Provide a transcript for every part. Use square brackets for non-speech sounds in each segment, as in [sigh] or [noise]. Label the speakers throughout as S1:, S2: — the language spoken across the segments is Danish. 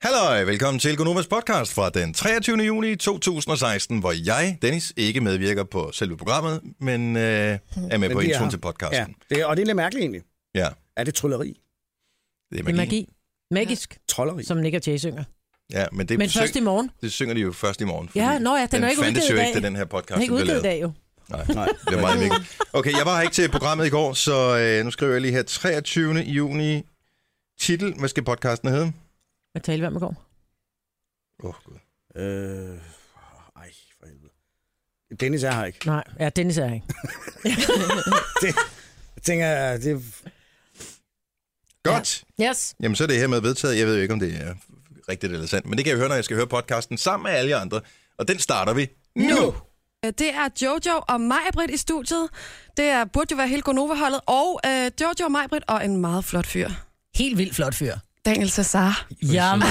S1: Hallo, velkommen til Gonovas podcast fra den 23. juni 2016, hvor jeg, Dennis, ikke medvirker på selve programmet, men øh, er med
S2: Men
S1: på
S2: vi er
S1: introen
S2: her.
S1: til
S2: Ja,
S1: podcasten.
S2: det, er- og det er lidt mærkeligt egentlig.
S1: Ja, ja
S2: Er det trylleri?
S1: det er
S3: Det
S1: magi.
S3: er magi. Magisk,
S2: Trolleri?
S3: som Nick og Jay synger.
S1: Ja, men det,
S3: Men
S1: syng,
S3: først i morgen.
S1: det synger de jo først i morgen.
S3: Ja, nå ja, den,
S1: den
S3: er ikke
S1: fandtes
S3: udgivet
S1: jo
S3: i dag.
S1: ikke, da den her podcast
S3: den er ikke
S1: blev
S3: udgivet
S1: lavet.
S3: i dag jo.
S1: Nej,
S2: Nej.
S1: det er
S3: [laughs]
S1: meget mærkeligt. Okay, jeg var her ikke til programmet i går, så øh, nu skriver jeg lige her 23. juni. Titel, hvad skal podcasten hedde?
S3: Hvad talte vi om i går?
S1: Åh, oh, gud.
S2: Øh, ej, for helvede. Dennis er her ikke.
S3: Nej, ja, Dennis er her ikke.
S2: Jeg tænker, det,
S1: Godt.
S3: Yes.
S1: Jamen, så er det her med vedtaget. Jeg ved jo ikke, om det er rigtigt eller sandt, men det kan jeg høre, når jeg skal høre podcasten sammen med alle jer andre. Og den starter vi nu.
S4: Øh, Det er Jojo og Majbrit i studiet. Det er, burde jo være hele Gonova-holdet. Og øh, Jojo og Majbrit og en meget flot fyr.
S3: Helt vildt flot fyr.
S4: Daniel Cesar.
S3: Jamen.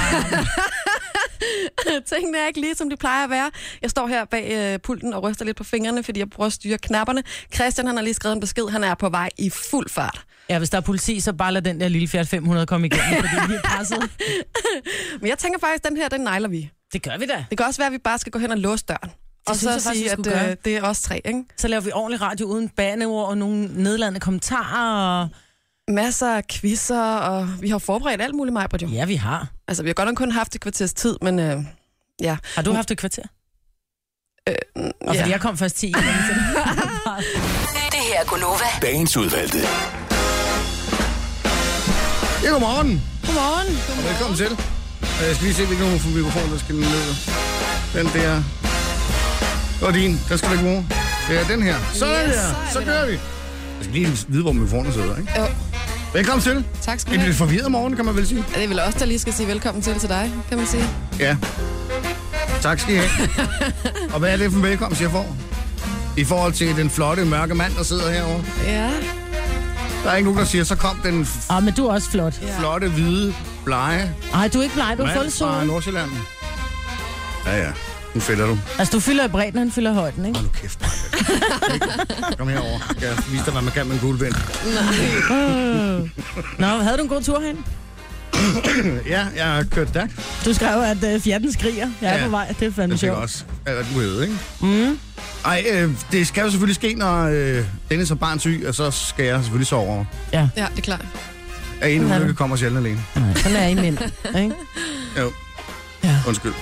S4: Tingene er ikke lige, som de plejer at være. Jeg står her bag øh, pulten og ryster lidt på fingrene, fordi jeg prøver at styre knapperne. Christian han har lige skrevet en besked. Han er på vej i fuld fart.
S5: [laughs] Ja, hvis der er politi, så bare lad den der lille Fiat 500 komme igennem, fordi vi
S3: [laughs]
S5: er presset.
S4: Men jeg tænker faktisk, at den her, den nejler vi.
S5: Det gør vi da.
S4: Det kan også være, at vi bare skal gå hen og låse døren. og
S5: synes
S4: så
S5: jeg faktisk, vi
S4: sige, at
S5: skulle gøre.
S4: øh, det er os tre, ikke?
S5: Så laver vi ordentlig radio uden bandeord og nogle nedladende kommentarer. Og...
S4: Masser af quizzer, og vi har forberedt alt muligt, Majbrit. jo.
S5: Ja, vi har.
S4: Altså, vi har godt nok kun haft et kvarters tid, men... Øh, ja.
S5: Har du haft et kvarter?
S4: Øh,
S5: Og
S4: ja.
S5: fordi jeg kom først
S3: [laughs]
S5: 10. igen, så-
S6: Det her er Gunova.
S7: Dagens udvalgte.
S8: Ja, godmorgen.
S4: Godmorgen.
S8: Og velkommen til. Øh, Jeg skal lige se, hvilken mikrofon- mikrofon, der skal ned. Den der. Det var din. Den skal du ikke bruge. Det er den her. Sådan
S4: Yes,
S8: der. Så kører vi. Jeg skal lige vide, hvor mikrofonen sidder, ikke?
S4: Jo.
S8: Velkommen til.
S4: Tak skal
S8: En
S4: du have.
S8: lidt forvirret morgen, kan man vel sige.
S4: Ja, Det er vel også der lige skal sige velkommen til til dig, kan man sige.
S8: Ja. Tak skal I
S4: [laughs]
S8: have. Og hvad er det for en velkomst, jeg får? I forhold til den flotte, mørke mand, der sidder herovre.
S4: Ja.
S8: Der er ikke nogen, der siger, så kom den f-
S3: Ah, men du er også flot.
S8: flotte, hvide, blege
S3: Ej, du er ikke bleg, du er
S8: mand
S3: fuldsol.
S8: fra Nordsjælland. Ja, ja. Nu fælder du.
S3: Altså, du fylder i bredden, og han fylder i højden, ikke?
S8: Hold nu kæft, Maja. Kom herover. Jeg viser dig, hvad man kan med en guldvind.
S3: Nå, havde du en god tur hen?
S8: Ja, jeg har kørt DAC.
S3: Du skrev, at uh, fjerten skriger. Jeg er
S8: Ja.
S3: på vej. Det er fandme
S8: Den fik
S3: sjovt.
S8: også alt muligt, ikke? Mm. Ej, øh, det skal jo selvfølgelig ske, når øh, Dennis har barn syg, og så skal jeg selvfølgelig sove over.
S4: Ja, det er klart.
S8: At en
S3: Sådan er
S8: ulykke
S3: det.
S8: kommer sjældent alene.
S3: Nej, sådan er I [laughs] mænd, ikke?
S8: Undskyld.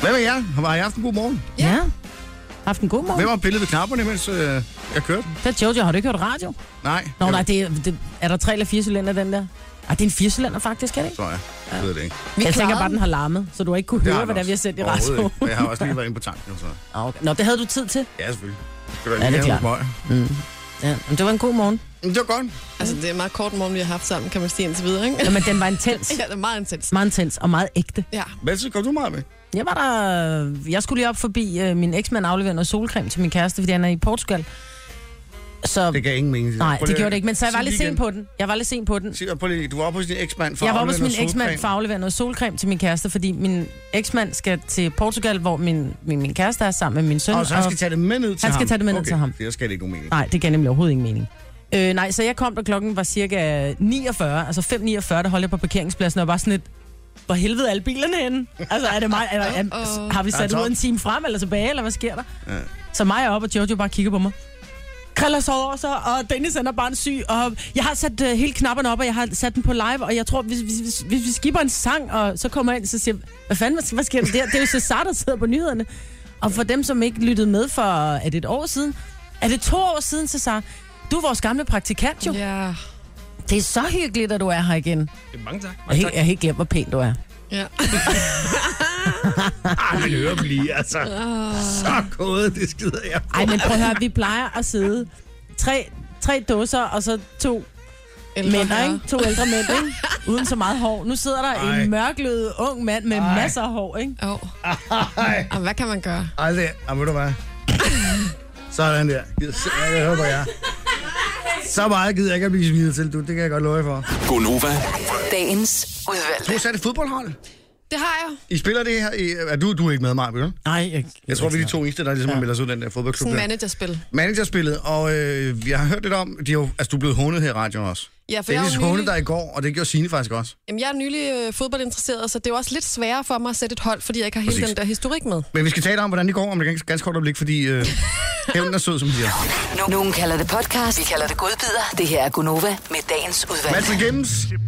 S8: Hvad med jer? Har I haft en god morgen?
S3: Ja. Haft en god morgen.
S8: Hvem har pillet ved knapperne, mens øh, jeg kørte?
S3: Det er Jojo. Har du ikke hørt radio?
S8: Nej.
S3: Nå,
S8: jeg-
S3: nej, det, er- det, er der tre eller fire cylinder, den der? Ej, det er en firecylinder faktisk, er det ikke?
S8: Tror jeg. Jeg ved det ikke.
S3: Vi jeg tænker
S4: klarede
S3: bare, den har larmet, så du har ikke kunne
S8: Det
S3: høre,
S8: har
S3: hvad
S8: den
S3: der vi har
S8: også.
S3: sendt i
S8: Overhovedet
S3: radio.
S8: ikke. Men Jeg har også lige været inde på tanken, så...
S3: [laughs] Ah, okay. Nå, det havde du tid til.
S8: Ja, selvfølgelig. Skal du
S3: Ja, det er
S8: lige have
S3: klart.
S8: noget møg?
S3: Ja, men det var en god morgen.
S8: Men Det var godt.
S4: Altså, det er en meget kort morgen, vi har haft sammen, kan man sige indtil videre, ikke?
S3: Ja, men den var intens.
S4: [laughs] Ja, det er meget intens.
S3: Meget intens og meget ægte.
S4: Ja.
S8: Hvad så kom du meget med?
S3: Jeg var der... Jeg skulle lige op forbi øh, min eksmand afleverede noget solcreme til min kæreste, fordi han er i Portugal. Så...
S8: Det gav ingen mening.
S3: Nej,
S8: Prøv
S3: det
S8: lige-
S3: gjorde det ikke, men så jeg
S8: Sig
S3: var
S8: det
S3: lidt
S8: igen.
S3: sent på den. Jeg var lidt sent på den.
S8: Sig, prøv lige, du var oppe hos din eksmand for
S3: Jeg var
S8: at
S3: oppe hos
S8: aflevere
S3: min
S8: noget
S3: eksmand for
S8: solcreme.
S3: at aflevere noget solcreme til min kæreste, fordi min eksmand skal til Portugal, hvor min, min, min kæreste er sammen med min søn.
S8: Og så han skal tage det med ned til
S3: Han
S8: ham?
S3: skal tage det med ned
S8: okay.
S3: til ham.
S8: Det der skal det ikke nogen mening.
S3: Nej, det gav nemlig overhovedet ingen mening. Øh, nej, så jeg kom, da klokken var cirka 49, altså 5.49, der holdt jeg på parkeringspladsen, og var sådan lidt, hvor helvede er alle bilerne henne? Altså, er det mig, er, er, er,
S4: Uh-oh.
S3: har vi
S8: Der er
S3: sat
S8: tomt.
S3: ud en time frem eller tilbage, eller hvad sker der?
S8: Ja.
S3: Så mig er op, og Jojo bare kigger på mig. Kriller sover også, og Dennis han er bare en syg, og jeg har sat øh, hele knapperne op, og jeg har sat den på live, og jeg tror, hvis, hvis, hvis, hvis vi skipper en sang, og så kommer jeg ind, så siger jeg, hvad fanden, hvad, hvad sker der? Det er- det er jo Cesar, der sidder på nyhederne. Og for dem, som ikke lyttede med for, er det et år siden? Er det to år siden, Cesar? Du er vores gamle praktikant jo.
S4: Ja.
S3: Det er så hyggeligt, at du er her igen.
S9: Mange tak.
S3: Jeg har helt- jeg har helt glemt, hvor pæn du er. [laughs]
S4: ja.
S9: Ah, min øre bliver altså så kodet, det skider jeg.
S3: Ej, men prøv at høre, vi plejer at sidde tre, tre dåser, og så to
S4: Eller
S3: mænd, ikke? To ældre mænd, ikke? [laughs] Uden så meget hår. Nu sidder der
S8: Ej.
S3: en mørklødet ung mand med Ej. masser af hår, ikke?
S4: Jo. Jamen, hvad kan man gøre?
S8: Aldrig. Jamen, ved du hvad? Sådan der. Gider se- Ja, Jeg håber, jeg. Så meget gider jeg ikke at blive smidt til, du. Det kan jeg godt love jer for.
S7: Gonova.
S6: Dagens
S8: Du
S6: udvalgte.
S8: har sat et fodboldhold.
S4: Det har jeg.
S8: I spiller det her i... Er du, du er ikke med mig, vel?
S3: Nej, jeg,
S8: Jeg tror, vi er de to eneste, der ligesom ja. melder sig ud af den der fodboldklub.
S4: Sådan
S8: der.
S4: et managerspil.
S8: Managerspillet, og øh, jeg har hørt lidt om, de er jo, altså du er blevet hånet her i radioen også.
S4: Ja, for jeg
S8: Dennis
S4: er, jo
S8: hånede
S4: nylig,
S8: dig i går, og det gjorde Signe faktisk også.
S4: jamen, jeg er nylig øh, fodboldinteresseret, så det er jo også lidt sværere for mig at sætte et hold, fordi jeg ikke har hele
S8: Præcis.
S4: den der historik med.
S8: Men vi skal tale om, hvordan det går om et ganske, ganske kort øjeblik, fordi
S4: [laughs]
S8: øh, hævnen er sød, som de siger.
S6: Nu- Nogen kalder det podcast, vi kalder det godbider. Det her er Gunova med dagens udvalg.
S8: Mads og Gems,
S10: øh,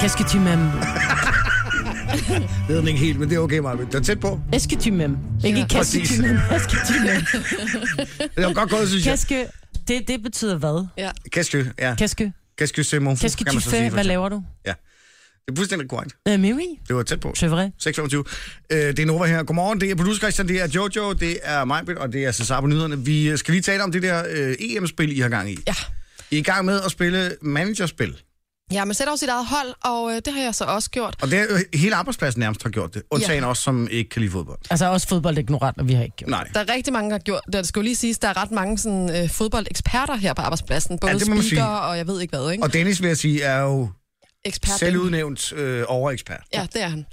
S3: Qu'est-ce que tu m'aimes?
S8: ved den ikke helt, men det er okay, Marvind. Det er tæt på.
S3: Est-ce que tu m'aimes? Ikke qu'est-ce que
S8: præcis.
S3: tu m'aimes? Est-ce que tu
S8: [laughs]
S3: m'aimes?
S8: Det var godt gået, synes jeg.
S3: Qu'est-ce que... Det, det betyder hvad?
S4: Ja.
S8: Qu'est-ce que, ja.
S3: Qu'est-ce que...
S8: Qu'est-ce que c'est mon fou,
S3: Qu'est-ce que
S8: kan
S3: tu
S8: man så
S3: fais?
S8: sige. for
S3: Hvad
S8: eksempel.
S3: laver du?
S8: Ja. Det er fuldstændig korrekt.
S3: Øh, men oui,
S8: Det var tæt på.
S3: c'est vrai.
S8: 6.25. Øh, det er Nova her. Godmorgen, det er producer Christian, det er Jojo, det er Majbrit, og det er Cesar på nyhederne. Vi øh, skal lige tale om det der øh, EM-spil, I har gang i.
S4: Ja.
S8: I er i gang med at spille managerspil.
S4: ja, man sætter jo sit eget hold, og øh, det har jeg så også gjort.
S8: Og det er jo hele arbejdspladsen nærmest har gjort det. Undtagen ja. også, som ikke kan lide fodbold.
S3: Altså også fodbold ignoranter, vi har ikke gjort.
S8: Nej.
S4: Der er rigtig mange, der har gjort det. Det skal jo lige siges, der er ret mange sådan, øh, fodboldeksperter her på arbejdspladsen. Både
S8: Ja,
S4: ja,
S8: det må man
S4: speaker
S8: sige.
S4: og jeg ved ikke hvad, ikke?
S8: Og Dennis, vil jeg sige, er jo
S4: Ekspert.
S8: selvudnævnt øh, overekspert.
S4: Ja, det er han.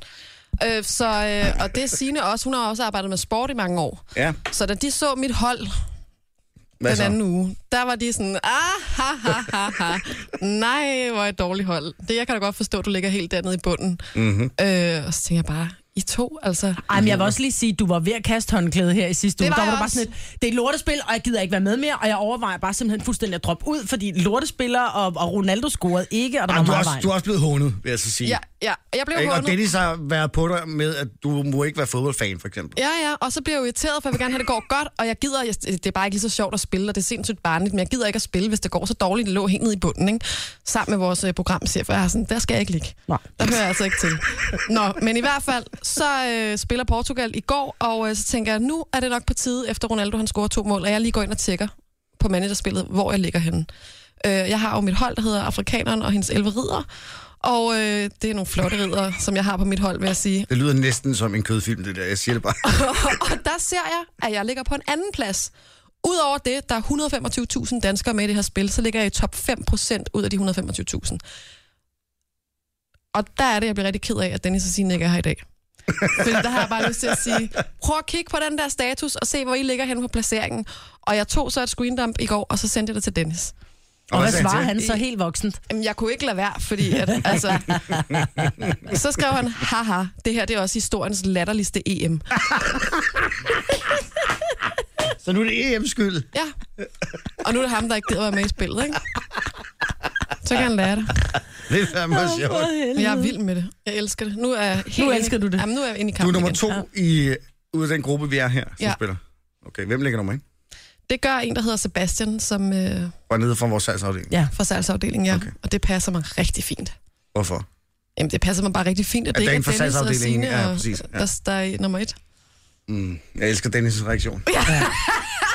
S4: Øh, så, øh, og det er Signe også. Hun har også arbejdet med sport i mange år.
S8: Ja,
S4: Så da de så mit hold
S8: hvad
S4: den
S8: så?
S4: anden uge, der var de sådan, ah, ha, ha, ha, ha. Nej, hvor er et dårligt hold. Det jeg kan da godt forstå, du ligger helt dernede i bunden. Mm-hmm.
S8: Mhm.
S4: Øh, og så tænker jeg bare, I to, altså.
S3: Ej, men jeg vil også lige sige, at du var ved at kaste håndklæde her i sidste
S4: Det
S3: uge.
S4: var
S3: Der
S4: jeg
S3: var du bare
S4: også.
S3: sådan et, det er et lortespil, og jeg gider ikke være med mere, og jeg overvejer bare simpelthen fuldstændig at droppe ud, fordi lortespillere og, og Ronaldo scorede ikke, og der
S8: Ej,
S3: var
S8: Ah, du, er
S3: meget
S8: også,
S3: vej.
S8: du er også blevet hånet, vil jeg så sige.
S4: Ja, ja. Og jeg blev
S8: Ikke? Og
S4: hånet.
S8: Dennis har været på dig med, at du må ikke være fodboldfan, for eksempel.
S4: Ja, ja, og så bliver jeg jo irriteret, for jeg vil gerne have, det går godt, og jeg gider, jeg, det er bare ikke lige så sjovt at spille, og det er sindssygt barnligt, men jeg gider ikke at spille, hvis det går så dårligt, det lå helt nede i bunden, ikke? Sammen med vores øh, programchef, og jeg er sådan, der skal jeg ikke ligge.
S3: Nej.
S4: Der hører jeg altså ikke til. Nå, men i hvert fald, så øh, spiller Portugal i går, og øh, så tænker jeg, nu er det nok på tide, efter Ronaldo han scorer to mål, at jeg lige går ind og tjekker på managerspillet, hvor jeg ligger henne. Øh, jeg har jo mit hold, der hedder Afrikaneren og hendes 11 ridder, og øh, det er nogle flotte ridder, som jeg har på mit hold, vil jeg sige.
S8: Det lyder næsten som en kødfilm, det der. Jeg siger det
S4: [laughs]
S8: bare.
S4: og der ser jeg, at jeg ligger på en anden plads. Udover det, der er 125.000 danskere med i det her spil, så ligger jeg i top 5% ud af de 125.000. Og der er det, jeg bliver rigtig ked af, at Dennis og Signe ikke er her i dag. Fordi der har jeg bare lyst til at sige, prøv at kigge på den der status og se, hvor I ligger hen på placeringen. Og jeg tog så et screendump i går, og så sendte jeg det til Dennis.
S3: Og hvad
S8: sagde han
S3: svarer
S8: til?
S3: han så helt voksent?
S4: Jamen, jeg kunne ikke lade være, fordi at, altså... så skrev han, haha, det her det er også historiens latterligste E EM.
S8: Så nu er det
S4: E
S8: EM's skyld.
S4: Ja. Og nu er det ham, der ikke gider være med i spillet, ikke? Så kan han lære det.
S8: Det er fandme sjovt.
S4: Men jeg er vild med det. Jeg elsker det. Nu er jeg helt
S3: Nu
S4: inde i-
S3: elsker du det.
S4: Jamen, nu er jeg inde i
S8: Du er
S4: kampen
S8: nummer
S4: igen.
S8: to i, ud af den gruppe, vi er her, som ja.
S4: Ja.
S8: spiller. Okay, hvem ligger nummer en?
S4: Det gør en, der hedder Sebastian, som øh,
S8: Bare nede fra vores salgsafdeling.
S3: Ja.
S4: fra salgsafdelingen, ja. Okay. Og det passer mig rigtig fint.
S8: Hvorfor?
S4: Jamen, det passer mig bare rigtig fint, at
S8: At
S4: det ikke
S8: der er en
S4: er
S8: fra
S4: Dennis og
S8: salgsafdelingen,
S4: Signe,
S8: ja,
S4: og,
S8: præcis, ja.
S4: der, der er nummer et.
S8: Jeg elsker Dennis' reaktion.
S3: Ah,
S8: det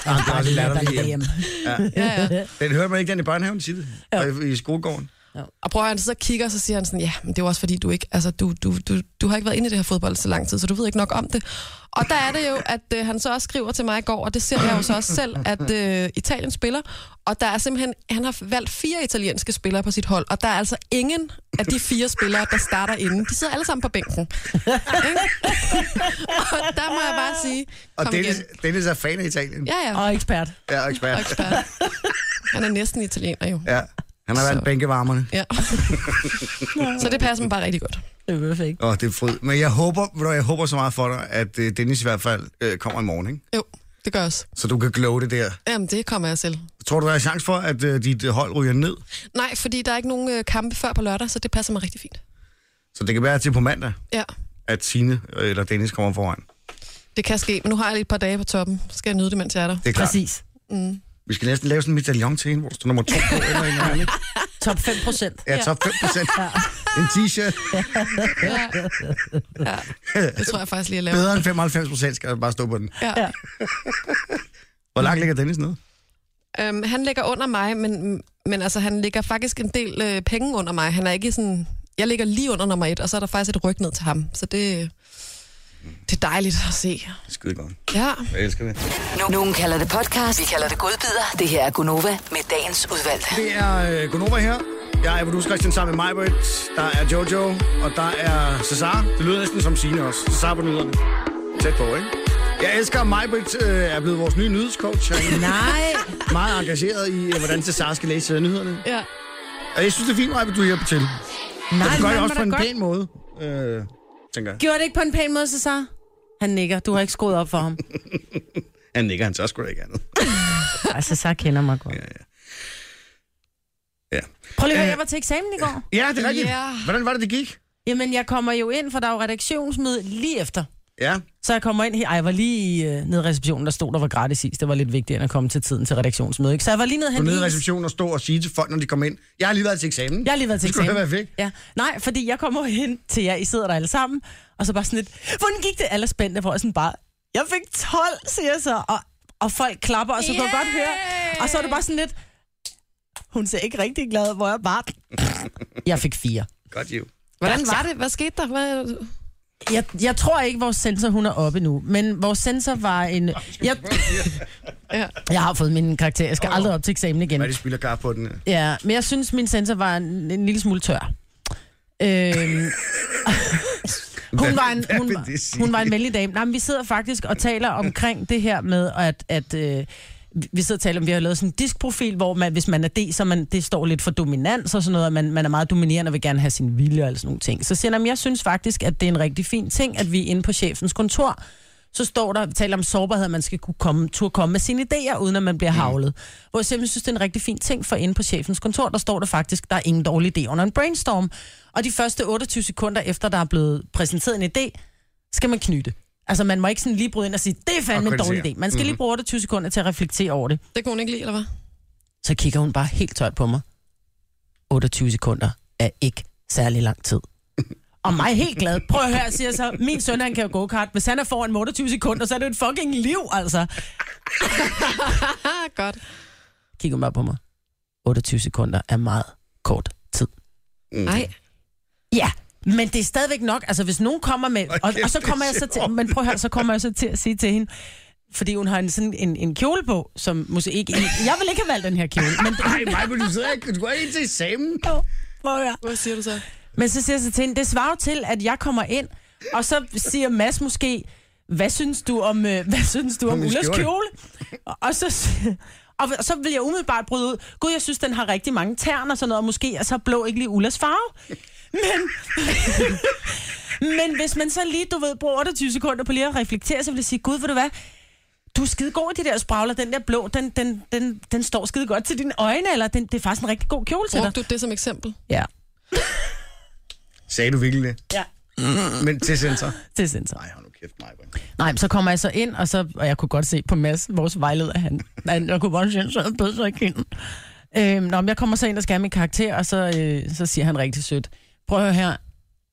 S8: er også latterligt.
S3: derhjemme.
S4: Ja, ja.
S8: Den hørte man ikke den i børnehaven sige det. Og i- i skolegården.
S4: Og prøver han så og kigger, så siger han sådan, ja, men det er jo også fordi, du ikke, altså, du, du, du, du har ikke været inde i det her fodbold så lang tid, så du ved ikke nok om det. Og der er det jo, at øh, han så også skriver til mig i går, og det ser jeg jo så også selv, at øh, Italien spiller, og der er simpelthen, han har valgt fire italienske spillere på sit hold, og der er altså ingen af de fire spillere, der starter inden. De sidder alle sammen på bænken. Ikke? og der må jeg bare sige,
S8: Og
S4: kom
S8: Dennis,
S4: igen.
S8: Dennis er fan af Italien.
S4: Ja, ja.
S3: [laughs] Og ekspert.
S8: Ja, og ekspert.
S4: Og ekspert. Han er næsten italiener jo.
S8: Ja. Han har været
S4: Så.
S8: bænkevarmerne. [laughs]
S4: Ja. så det passer mig bare rigtig godt.
S3: Det er perfekt.
S8: Åh, det er fryd. Men jeg håber, ved du hvad, jeg håber så meget for dig, at øh, Dennis i hvert fald øh, kommer i morgen, ikke?
S4: Jo, det gør også.
S8: Så du kan glow det der.
S4: Jamen, det kommer jeg selv.
S8: Tror du, der er chance for, at øh, dit øh, hold ryger ned?
S4: Nej, fordi der er ikke nogen øh, kampe før på lørdag, så det passer mig rigtig fint.
S8: Så det kan være til på mandag,
S4: Ja,
S8: at Signe øh, eller Dennis kommer foran.
S4: det kan ske, men nu har jeg lige et par dage på toppen. Så skal jeg nyde det, mens jeg er der.
S8: Det er klart.
S3: Præcis.
S8: Vi skal næsten lave sådan en medaljon til hende, hvor der står nummer to på. Eller en eller anden.
S3: Top 5 procent.
S8: Ja, top 5 procent. En t-shirt.
S4: Ja. ja. Det tror jeg faktisk lige, at lave.
S8: Bedre end 95 procent skal der bare stå på den.
S4: Ja.
S3: Ja.
S8: Hvor langt ligger Dennis nede?
S4: Øhm, han ligger under mig, men, men altså, han ligger faktisk en del øh, penge under mig. Han er ikke sådan... Jeg ligger lige under nummer et, og så er der faktisk et ryg ned til ham. Så det, det er dejligt at se.
S8: Skide godt.
S4: Ja.
S8: Jeg elsker det.
S6: No- Nogen kalder det podcast, vi kalder det godbider. Det her er Gunova med dagens udvalgte.
S8: Det er øh, Gunova her. Jeg er producer Christian sammen med Majbert. Der er Jojo, og der er Cesar. Det lyder næsten som Signe også. Cesar på nyderne. Tæt på, ikke? Jeg elsker, at Majbert øh, er blevet vores nye nyhedscoach. Han er
S4: Nej.
S8: meget engageret i, øh, hvordan Cesar skal læse øh, nyhederne.
S4: Ja.
S8: Og jeg synes, det er fint, Majbert, du hjælper til. Nej,
S3: Nej,
S8: du gør
S3: man
S8: det
S3: må
S8: også
S3: da
S8: på en
S3: godt-
S8: pæn måde, øh, tænker jeg.
S3: Gjorde det ikke på en pæn måde, Cesar? Han nikker. Du har ikke skruet op for ham.
S8: Han nikker, han så sgu da ikke andet.
S11: [laughs] Altså, så kender mig godt.
S8: Ja. Øh.
S3: Prøv lige at høre, jeg var til eksamen i går.
S8: [laughs] ja, det er rigtigt.
S4: Ja.
S8: Hvordan var det, det gik?
S3: Jamen, jeg kommer jo ind, for der er jo redaktionsmøde lige efter.
S8: Ja.
S3: Så jeg kommer ind her. Ej, jeg var lige i, øh, nede i receptionen, der stod, der var gratis is. Det var lidt vigtigere end at komme til tiden til redaktionsmøde. Ikke? Så jeg var lige nede
S8: Gå
S3: hen
S8: ned i
S3: is.
S8: receptionen og stå og sige til folk, når de kommer ind. Jeg har lige været til eksamen.
S3: Jeg har lige været til
S8: Det skulle
S3: eksamen.
S8: da være fedt.
S3: Ja. Nej, fordi jeg kommer hen til jer, I sidder der alle sammen, og så bare sådan lidt, hvordan gik det alle spændende, hvor jeg sådan bare, jeg fik 12, siger jeg så, og, og folk klapper, og så kan jeg godt høre, og så er det bare sådan lidt, hun ser ikke rigtig glad, hvor jeg bare, jeg fik fire.
S8: Godt, jo.
S4: Hvordan var det? Hvad skete der? Hvad...
S3: Jeg, jeg tror ikke, vores sensor hun er oppe nu, men vores sensor var en... Jeg, [laughs]
S4: Ja.
S3: jeg har fået min karakter, jeg skal aldrig op til eksamen igen.
S8: Hvad er det, spiller kaffe på den? her?
S3: Ja, men jeg synes, min sensor var en, en lille smule tør.
S8: [laughs]
S3: Øhm, hun, var en,
S8: hvad
S3: hun,
S8: vil
S3: var-
S8: det sige?
S3: hun var en venlig dame. Nej, men vi sidder faktisk og taler omkring det her med, at, at øh, vi sidder og taler om, vi har lavet sådan en diskprofil, hvor man, hvis man er det, så man, det står lidt for dominans og sådan noget, og man, man er meget dominerende og vil gerne have sin vilje og alle sådan nogle ting. Så siger jeg, jeg synes faktisk, at det er en rigtig fin ting, at vi er inde på chefens kontor, så står der, vi taler om sårbarhed, at man skal kunne komme, turde komme med sine idéer, uden at man bliver havlet. Hvor jeg simpelthen synes, det er en rigtig fin ting, for inde på chefens kontor, der står der faktisk, der er ingen dårlig idé under en brainstorm. Og de første 28 sekunder efter, der er blevet præsenteret en idé, skal man knytte. Altså, man må ikke sådan lige bryde ind og sige, det er fandme
S8: Og
S3: en dårlig
S8: kritisere.
S3: idé. Man skal lige bruge 28 sekunder til at reflektere over det.
S4: Det kunne hun ikke lide, eller hvad?
S3: Så kigger hun bare helt tørt på mig. 28 sekunder er ikke særlig lang [laughs] tid. Og mig helt glad. Prøv at høre, siger jeg så. Min søn, han kan jo go-kart. Hvis han er foran med 28 sekunder, så er det jo et fucking liv, altså.
S4: Ah, godt.
S3: Kigger hun bare på mig. 28 sekunder er meget kort tid.
S8: Mm.
S4: Nej.
S3: Ja, men det er stadigvæk nok. Altså, hvis nogen kommer med... Og, og så kommer jeg så til... Men prøv at høre, så kommer jeg så til at sige til hende... Fordi hun har en, sådan en, en kjole på, som måske ikke... Jeg vil ikke have valgt den her kjole, men...
S8: Nej, nej, men du sidder ikke. Du går ikke til eksamen.
S3: Prøv at høre.
S4: Hvad siger du så?
S3: Men så siger jeg så til hende, det svarer jo til, at jeg kommer ind, og så siger Mads måske, hvad synes du om, øh, [laughs] hvad synes du om
S8: min
S3: Ullas
S8: skjorte."
S3: kjole? Og, og så... si- [laughs] Og så vil jeg umiddelbart bryde ud. Gud, jeg synes, den har rigtig mange tern og sådan noget, og måske er så blå ikke lige Ullas farve. Men, [laughs] men hvis man så lige, du ved, bruger 28 sekunder på lige at reflektere, så vil jeg sige, Gud, ved du hvad, du er skide god i de der spragler, den der blå, den, den, den, den står skide godt til dine øjne, eller den, det er faktisk en rigtig god kjole til dig.
S4: Brugte du det som eksempel?
S3: Ja,
S8: Sagde du virkelig det?
S3: Ja.
S8: Men til sensor.
S4: [laughs]
S3: det er sensor.
S8: Nej, hold nu kæft, mig.
S3: Nej, men så kommer jeg så ind, og, så, og jeg kunne godt se på Mads, vores vejleder, han, han jeg kunne godt se, at han sad og bød sig i kinden. Øhm, nå, men jeg kommer så ind og skal have min karakter, og så, øh, så siger han rigtig sødt, prøv at høre her,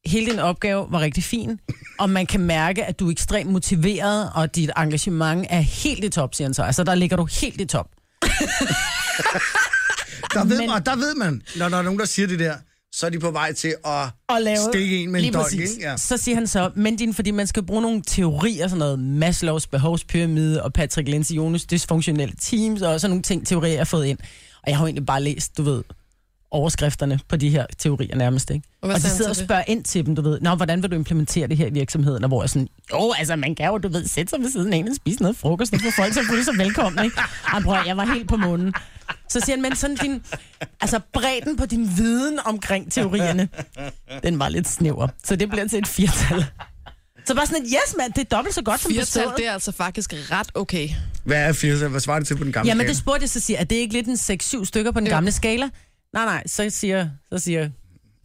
S3: hele din opgave var rigtig fin, og man kan mærke, at du er ekstremt motiveret, og dit engagement er helt i top, siger han så. Altså, der ligger du helt i top.
S8: Der ved,
S3: Men-
S8: men... man, der ved man, når der er nogen, der siger det der, så er de på vej til at...
S3: og lave...
S8: Stikke en med en
S3: Lige
S8: dolk,
S3: præcis.
S8: ikke? Ja.
S3: Så siger han så, men din, fordi man skal bruge nogle teorier, sådan noget Maslows behovspyramide og Patrick Lencioni's dysfunktionelle teams og sådan nogle ting, teorier jeg har fået ind. Og jeg har jo egentlig bare læst, du ved, overskrifterne på de her teorier nærmest, ikke?
S4: Og
S3: Og,
S4: hvad
S3: og de
S4: sagde han
S3: sidder og
S4: til det?
S3: spørger ind til dem, du ved, Nå, hvordan vil du implementere det her i virksomheden? Og hvor jeg sådan, jo, altså, man kan jo, du ved, sætte sig ved siden af en og spise noget frokost, og få folk til at føle sig velkomne, ikke? Han prøver, jeg var helt på månen. Så siger han, men sådan din, altså bredden på din viden omkring teorierne, den var lidt snæver. Så det bliver til et firtal. Så bare sådan et, yes mand, det er dobbelt så godt som
S4: Firtal,
S3: bestået.
S4: det er altså faktisk ret okay.
S8: Hvad er 80? Hvad svarer det til på den gamle
S3: Jamen
S8: skala?
S3: det spurgte jeg, så siger, er det ikke lidt en 6-7 stykker på den gamle skala? Nej, nej, så siger, så siger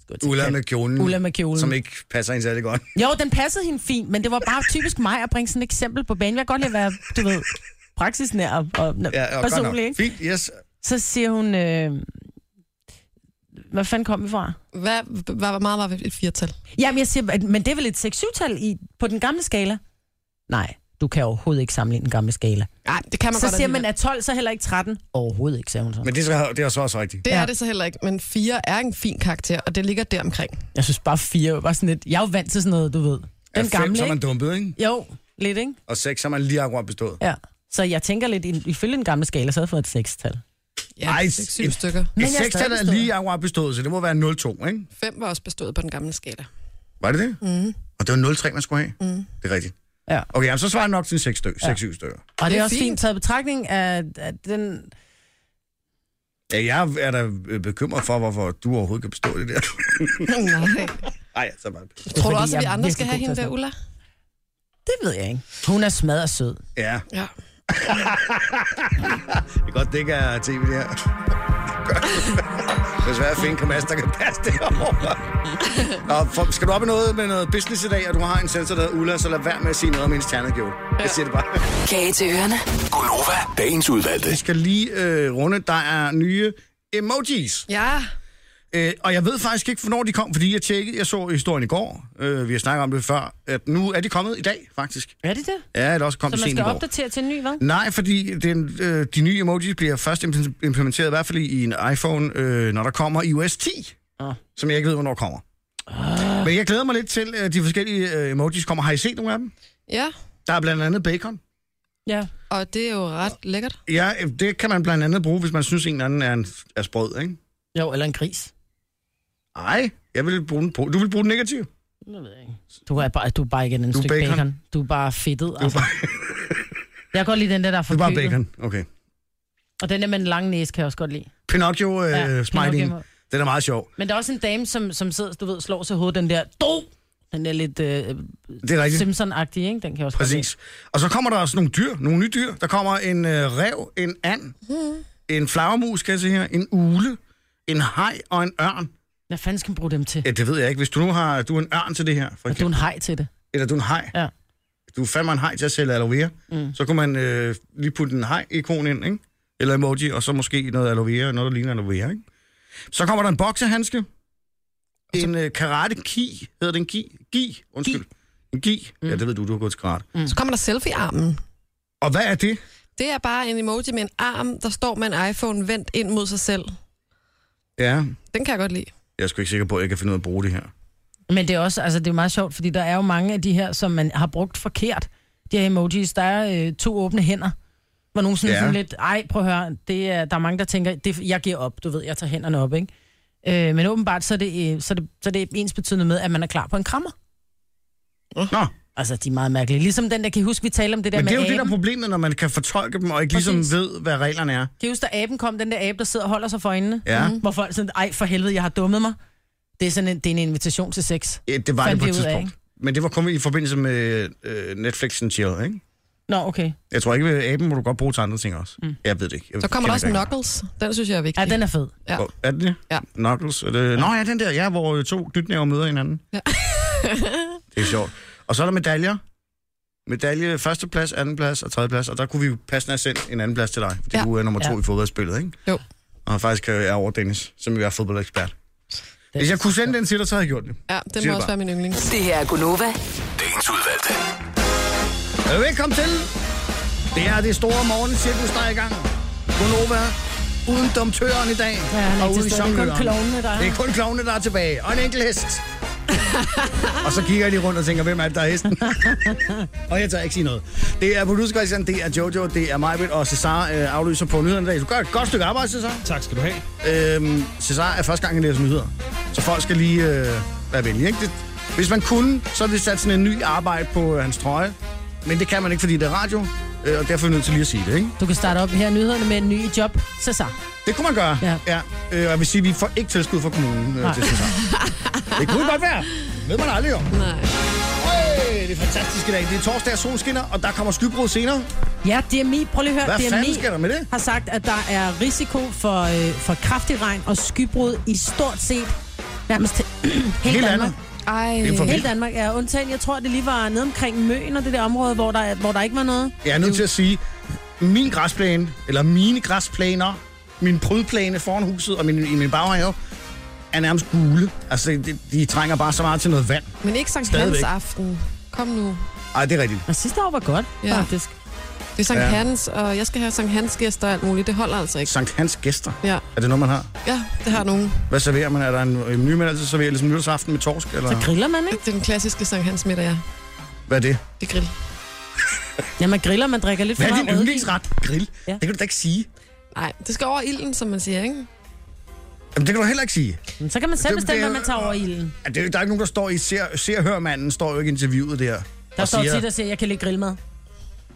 S3: Skud til
S8: Ulla
S3: kat.
S8: med kjolen,
S3: Ulla med kjolen.
S8: som ikke passer ind særlig godt. [laughs]
S3: Jo, den passede hende fint, men det var bare typisk mig at bringe sådan et eksempel på banen. Jeg kan godt lide at være, du ved, praksisnær og, og
S8: Ja,
S3: ja,
S8: og godt
S3: personlig,
S8: nok.
S3: ikke?
S8: Fint, yes.
S3: Så siger hun, øh, hvad fanden kom vi fra?
S4: Hvad, hvad, hvor meget var et firtal?
S3: Jamen, jeg siger, at- men det er vel et 6-7-tal i, på den gamle skala? Nej, du kan overhovedet ikke sammenligne den gamle skala.
S4: Nej, det kan man
S3: Så
S4: godt
S3: siger
S4: alligevel.
S3: man, at 12 så heller ikke 13. Overhovedet ikke, sagde hun så.
S8: Men det, er så- det er så også rigtigt.
S4: Det ja. er
S3: Ja.
S4: det så heller ikke, men fire er en fin karakter, og det ligger deromkring.
S3: Jeg synes bare 4 var sådan lidt... Jeg er jo vant til sådan noget, du ved.
S8: Er
S3: Den
S8: fem,
S3: gamle,
S8: så er man
S3: ikke?
S8: dumpet, ikke?
S3: Jo, lidt, ikke?
S8: Og seks, så er man lige akkurat bestået.
S3: Ja. Så jeg tænker lidt, i- ifølge den gamle skala, så havde jeg fået et 6-tal.
S4: ja,
S8: Ej,
S4: seks, syv
S8: et-
S4: stykker.
S8: Et
S12: jeg er
S8: sekstal
S12: stadig
S8: er lige akkurat bestået, så det må være 0,2, ikke?
S4: Fem var også bestået på den gamle skala.
S8: Var det det? Mm. Og det var 0,3, man skulle have? Mm. Det er rigtigt.
S3: Ja.
S8: Okay, jamen, så svarer jeg nok til 6 stykker. 6-7 stykker.
S3: Og det
S4: Det
S3: er
S4: er
S3: også fint
S4: fint.
S3: taget i betragtning af, at den...
S8: Ja, jeg er da øh, bekymret for, hvorfor du overhovedet kan bestå det der.
S4: Nej.
S8: Nej, så meget.
S4: Tror du
S3: fordi,
S4: også, at
S3: jeg
S4: vi
S3: er
S4: andre skal have
S3: virkelig god
S4: hende
S3: til
S4: der,
S3: at
S4: Ulla?
S3: Det ved jeg ikke. Hun er smadret sød.
S8: Ja,
S4: Ja.
S8: det er godt, det ikke er tv, det her. [laughs] Desværre at finde Kamas, der kan passe det over. Nå, for, skal du op i noget med noget business i dag, og du har en sensor, der hedder Ulla, så lad være med at sige noget om hendes ternekjole. Jeg siger det bare.
S6: Kage til ørerne.
S7: Gonova, dagens udvalgte.
S8: Vi skal lige øh, runde. Der er nye emojis.
S4: Ja.
S8: Øh, og jeg ved faktisk ikke, hvornår de kom, fordi jeg tjekkede. Jeg så historien i går. Øh, vi har snakket om det før. At nu er de kommet i dag, faktisk.
S3: Er det det?
S8: Ja, det er også kommet
S3: Så man
S8: sent i
S3: skal
S8: går.
S3: opdatere til en ny, hvad?
S8: Nej, fordi den, øh, de nye emojis bliver først impl- implementeret, i hvert fald i en iPhone, øh, når der kommer iOS 10,
S3: Ah.
S8: som jeg ikke ved, hvornår kommer. Men jeg glæder mig lidt til, at de forskellige øh, emojis kommer. Har I set nogle af dem?
S4: Ja.
S8: Der er blandt andet bacon.
S3: Ja.
S4: Og det er jo ret lækkert.
S8: Ja, øh, det kan man blandt andet bruge, hvis man synes, en eller anden er, en, er sprød, ikke?
S3: Jo, eller en gris.
S8: Nej, jeg vil bruge den på. Du vil bruge den negativ.
S3: Det ved jeg ikke. Du er bare, du er bare ikke en
S8: er
S3: stykke
S8: bacon.
S3: bacon. bacon. Du er bare fedtet. Altså.
S8: bare-
S3: jeg kan godt lide den der, der er
S8: Det er bare
S3: forkølet.
S8: bacon. Okay.
S3: Og den der med den lange næse kan jeg også godt lide.
S8: Pinocchio øh, ja, smiling.
S3: Pinocchio.
S8: Den er meget sjov.
S3: Men der er også en dame, som, som sidder, du ved, slår sig i hovedet, den der, do! Den der lidt øh,
S8: Det er rigtigt.
S3: Simpson-agtige, ikke? Den kan jeg også godt
S8: Præcis. Og så kommer der også nogle dyr, nogle nye dyr. Der kommer en øh, rev, en and,
S3: Mm-hmm.
S8: en flagermus, kan jeg se her, en ule, en hej og en ørn.
S3: lide. Hvad fanden skal man bruge dem til?
S8: Ja, det ved jeg ikke. Hvis du nu har du er en ørn til det her, for
S3: Og du er
S8: eksempel,
S3: en hej til det.
S8: eller du er en hej.
S3: Ja.
S8: Du er fandme en hej til at sælge aloe vera. Mm. Så kunne man øh, lige putte en hej-ikon ind, ikke? Eller emoji, og så måske noget aloe vera, noget der ligner aloe vera, ikke? Så kommer der en boksehandske. En øh, karate-ki, hedder den ki? Gi, undskyld. En gi. Ja, det ved du, du har gået til karate. Mm.
S4: Så kommer der selfie-armen.
S8: Og hvad er det?
S4: Det er bare en emoji med en arm, der står med en iPhone vendt ind mod sig selv.
S8: Ja,
S4: Den kan jeg godt lide.
S8: Jeg er sgu ikke sikker på, at jeg kan finde ud af at bruge det her.
S3: Men det er også, altså det er meget sjovt, fordi der er jo mange af de her, som man har brugt forkert. De her emojis, der er øh, to åbne hænder. Hvor nogen sådan,
S8: Ja.
S3: ja. sådan lidt, ej, prøv at høre, det er, der er mange, der tænker, det, jeg giver op, du ved, jeg tager hænderne op, ikke? Øh, men åbenbart, så er, det, øh, så, er det, så er det ens betydende med, at man er klar på en krammer.
S8: Nå,
S3: Altså, de er meget mærkelige. Ligesom den der, kan I huske, vi talte om det der
S8: men
S3: med
S8: det er jo
S3: aben?
S8: det, der er problemet, når man kan fortolke dem, og ikke ligesom
S3: Præcis.
S8: ved, hvad reglerne er.
S3: Kan I huske, da aben kom, den der abe, der sidder og holder sig for øjnene? Mm-hmm.
S8: Ja.
S3: Hvor folk sådan, ej, for helvede, jeg har dummet mig. Det er sådan en, det er en invitation til sex.
S8: Ja, det var det
S3: Fandt
S8: på et
S3: vi ud af,
S8: tidspunkt. Men det var kun i forbindelse med øh, Netflix and chill, ikke?
S3: Nå, okay.
S8: Jeg tror ikke, at aben må du godt bruge til andre ting også. Mm. Jeg ved det ikke. Jeg
S4: Så kommer der også
S8: kender ikke
S4: Knuckles. Den synes jeg er vigtig.
S3: Ja, den er fed.
S4: Ja.
S8: reglerne. Hvor- Er det det?
S4: Ja.
S8: Knuckles? Er det... Nå ja, den der, ja, hvor øh, to dytnæver møder hinanden.
S4: Ja.
S8: [laughs] det er sjovt. Og så er der medaljer. Medalje førsteplads, andenplads og tredjeplads, og der kunne vi jo passende have sendt en andenplads til dig, fordi ja.
S4: Ja.
S8: du er nummer to
S3: Ja.
S8: i fodboldspillet, ikke?
S4: Jo.
S8: Og faktisk øh, er over Dennis, som jo er fodboldekspert. Hvis jeg kunne sende den til dig, så havde jeg gjort det.
S4: Ja, den
S8: Siger
S4: må
S8: det
S4: også
S8: bare.
S4: være min yndling.
S6: Det her er Gunova.
S7: Dagens udvalgte.
S8: Øh, Velkommen til. Det er det store morgencirkus, der er i gang. Gunova, uden domtøren i dag.
S3: Ja, han er
S8: og
S3: ikke
S8: uden
S3: til stede. Det er kun
S8: jongløren.
S3: klovnene, der er
S8: Det er kun klovene, der er tilbage. Og en enkelt
S3: [laughs]
S8: hest. og så kigger de rundt og tænker, hvem er det, der er
S3: [laughs]
S8: hesten? og jeg tør ikke sige noget. Det er producer Christian, det er Jojo, det er Majbrit og Cesar øh, aflyser på nyhederne i dag. Du gør et godt stykke arbejde, Cesar.
S13: Tak skal du have.
S8: Øhm, Cesar er første gang, jeg læser nyheder. Så folk skal lige øh, være venlige. Ikke? Det, hvis man kunne, så ville vi sat sådan en ny arbejde på øh, hans trøje. Men det kan man ikke, fordi det er radio. Øh, og derfor er vi nødt til lige at sige det, ikke?
S3: Du kan starte op her i nyhederne med en ny i job. Så så.
S8: Det kunne man gøre.
S3: Ja.
S8: ja. Øh, og jeg vil sige, at vi får ikke tilskud fra kommunen øh,
S3: Nej.
S8: til Cesar. det kunne godt være. Det ved man aldrig jo.
S4: Nej.
S8: Hey, det er fantastisk i dag. Det er torsdag, og solen skinner, og der kommer skybrud senere.
S3: Ja, DMI, prøv lige at høre.
S8: Hvad fanden
S3: DMI
S8: sker der med det?
S3: har sagt, at der er risiko for, øh, for kraftig regn og skybrud i stort set nærmest til [clears throat] hele
S8: Helt
S3: Danmark.
S8: andet.
S4: Ej,
S8: er for
S3: Hele Danmark er undtagen. Jeg tror, det lige var nede omkring Møen og det der område, hvor der, hvor der ikke var noget.
S8: Jeg er nødt til at sige, min græsplæne, eller mine græsplæner, min prydplæne foran huset og min, i min baghave, er nærmest gule. Altså, de, de trænger bare så meget til noget vand.
S4: men ikke Sankt
S8: Stadigvæk.
S4: Hans aften. Kom nu.
S8: Ej, det er rigtigt.
S3: Og sidste år var godt,
S4: Ja.
S3: ja. faktisk.
S4: Det er Sankt
S8: Ja.
S4: ja. Hans, og jeg skal have Sankt Hans gæster og alt muligt. Det holder altså ikke.
S8: Sankt Hans gæster.
S4: Ja,
S8: Er det noget, man har?
S4: ja det har nogen.
S8: Hvad serverer man? Er der en, en ny mand, der serverer ligesom nytårsaften med torsk? Eller
S3: Så griller man, ikke?
S4: Det er den klassiske Sankt Hans middag, ja.
S8: hvad er det?
S4: Det er grill.
S3: Ja, man griller, man drikker lidt for
S8: Hvad er
S3: meget
S8: din
S3: rødvin.
S8: yndlingsret? Grill? Ja.
S3: Ja.
S8: Det kan du da ikke sige.
S4: Nej, det skal over ilden, som man siger, ikke?
S8: Jamen, det kan du heller ikke sige.
S3: Men Så kan man selv
S8: Altså, Det-
S3: bestemme,
S8: det-
S3: hvad man tager over ilden.
S8: Ja, det er, jo- der er ikke nogen, der står i ser, ser og hør manden, står jo ikke i interviewet der.
S3: Der
S8: og
S3: står
S8: siger,
S3: tit og siger, at jeg kan lide grillmad.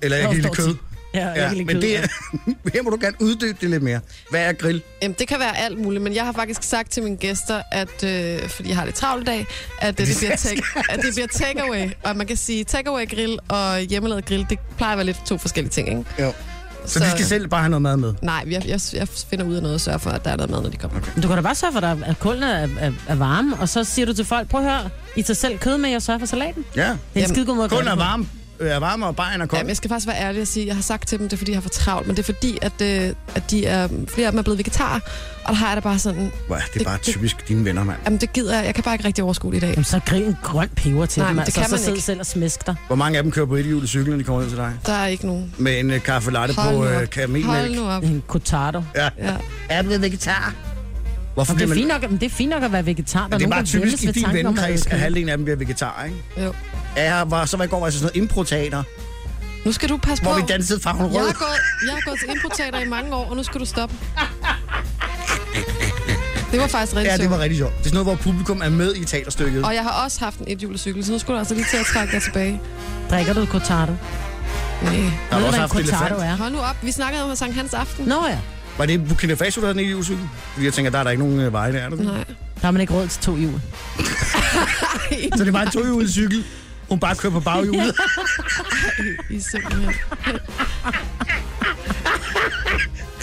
S8: Eller jeg
S3: Der
S8: kan lide
S3: står
S8: kød.
S3: tit. Ja, jeg
S8: Ja,
S3: kan lide
S8: men
S3: kød,
S8: det
S3: ja.
S8: er, [laughs] her må du gerne uddybe det lidt mere. Hvad er grill?
S4: Jamen, det kan være alt muligt, men jeg har faktisk sagt til mine gæster, at, øh, fordi jeg har lidt travlt i dag, at, øh, det, bliver take, at det bliver takeaway. Og man kan sige takeaway grill og hjemmelavet grill, det plejer at være lidt to forskellige ting, ikke?
S8: Jo. Så, så de skal selv bare have noget mad med.
S4: Nej, jeg, jeg, jeg finder ud af noget og sørger for, at der er noget mad, når de kommer. Okay.
S3: Men Du kan da bare sørge for, at der- at kulene er, er, er varme, og så siger du til folk, prøv at høre, I tager selv kød med, jeg sørger for salaten. Det
S8: Ja.
S3: er en
S4: Jamen,
S3: skide god måde at
S8: Kun
S3: gøre
S8: er
S3: det på.
S8: varme, er varme og bare en er kold.
S4: Jamen, jeg skal faktisk være ærlig og sige, at jeg har sagt til dem, det er fordi, jeg har for travlt, men det er fordi, at, øh, at de er, flere af dem er blevet vegetarer, og der har jeg det bare sådan,
S8: Hvor er det er bare typisk dine venner, mand.
S4: jamen det gider jeg, jeg kan bare ikke rigtig overskue det i dag.
S3: Jamen, så grill en grøn peber til
S4: Nej,
S3: dem,
S4: men det
S3: altså,
S4: kan
S3: så
S4: man
S3: sidder
S4: ikke.
S3: selv og smæsk dig.
S8: Hvor mange af dem kører på et hjul i cyklen, når de kommer ned til dig?
S4: Der er ikke nogen.
S8: Med en uh, kaffe latte på
S4: nu
S8: uh,
S4: op. Hold nu
S8: kamelmælk.
S4: op.
S3: En cortado.
S8: Ja.
S4: Ja.
S8: Er blevet vegetar? Hvorfor
S3: Det
S8: bliver
S3: er,
S8: man...
S3: fint nok, men det er fint nok at være vegetar. Der
S8: Men det er
S3: nogen,
S8: bare
S3: der
S8: typisk
S3: vælges
S8: i
S3: ved
S8: din
S3: tanken om at
S8: vennekreds,
S3: være
S8: at
S3: vegetar.
S8: halvdelen af dem bliver vegetar, ikke?
S4: Jo.
S8: Ja, jeg var, så var jeg i går var jeg til sådan noget improteater,
S4: Nu skal du passe
S8: hvor
S4: på.
S8: vi dansede farven
S4: Jeg
S8: rød.
S4: har, gået, jeg har gået til improteater i mange år, og nu skal du stoppe. Det var faktisk rigtig
S8: Ja, det var
S4: sjovt. Ah.
S8: rigtig sjovt. Det er sådan noget, hvor publikum er med i teaterstykket.
S4: Og jeg har også haft en ethjulecykel, så nu skulle du altså lige til at trække dig tilbage.
S3: Drikker du cortado?
S4: Nej.
S8: Der
S3: Ved
S8: har
S3: du,
S8: også
S3: hvad en
S8: haft
S3: cortado
S8: elefant.
S3: er?
S4: Hold nu op, vi snakkede om Sankt Hans Aften.
S3: Nå ja,
S8: Var det Burkina Faso, der havde den i hjulcykel? Fordi jeg tænker, der er der ikke nogen øh, veje der, er der?
S4: [laughs] Nej.
S3: der har man ikke råd til to hjul.
S8: Så det var en tohjulet cykel. Hun bare kører på baghjulet.
S4: I er simpelthen.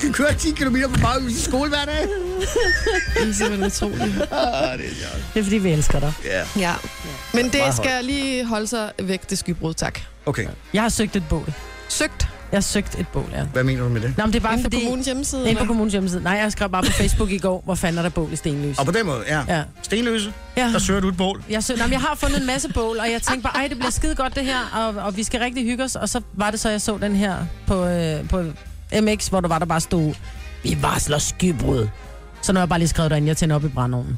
S8: Hun kører 10 km på baghjulet i skole hver dag.
S4: I er simpelthen utrolige.
S3: Det er fordi, vi elsker dig.
S4: Ja. Men det skal lige holde sig væk, det skybrud, tak.
S8: Okay,
S3: Jeg har søgt et bål.
S4: Søgt
S3: Jeg har søgt et bål, ja.
S8: hvad mener du med det?
S3: Nå, men det er bare
S4: inden for
S3: fordi...
S4: kommunens hjemmeside.
S3: Inde på
S4: eller?
S3: kommunens hjemmeside. Nej, jeg skrev bare på Facebook i går, hvor fanden er der bål i Stenløs.
S8: Og på den måde, ja.
S3: Ja.
S8: Stenløse,
S3: Ja.
S8: der søger du et bål.
S3: Jeg, søg, nå, men jeg har fundet en masse bål, og jeg tænkte bare, ej, det bliver skide godt det her, og, og vi skal rigtig hygge os. Og så var det så, jeg så den her på, øh, på MX, hvor der var, der bare stod, vi varsler skybrud. Så nu har jeg bare lige skrevet derinde, jeg tænder op i brandovnen.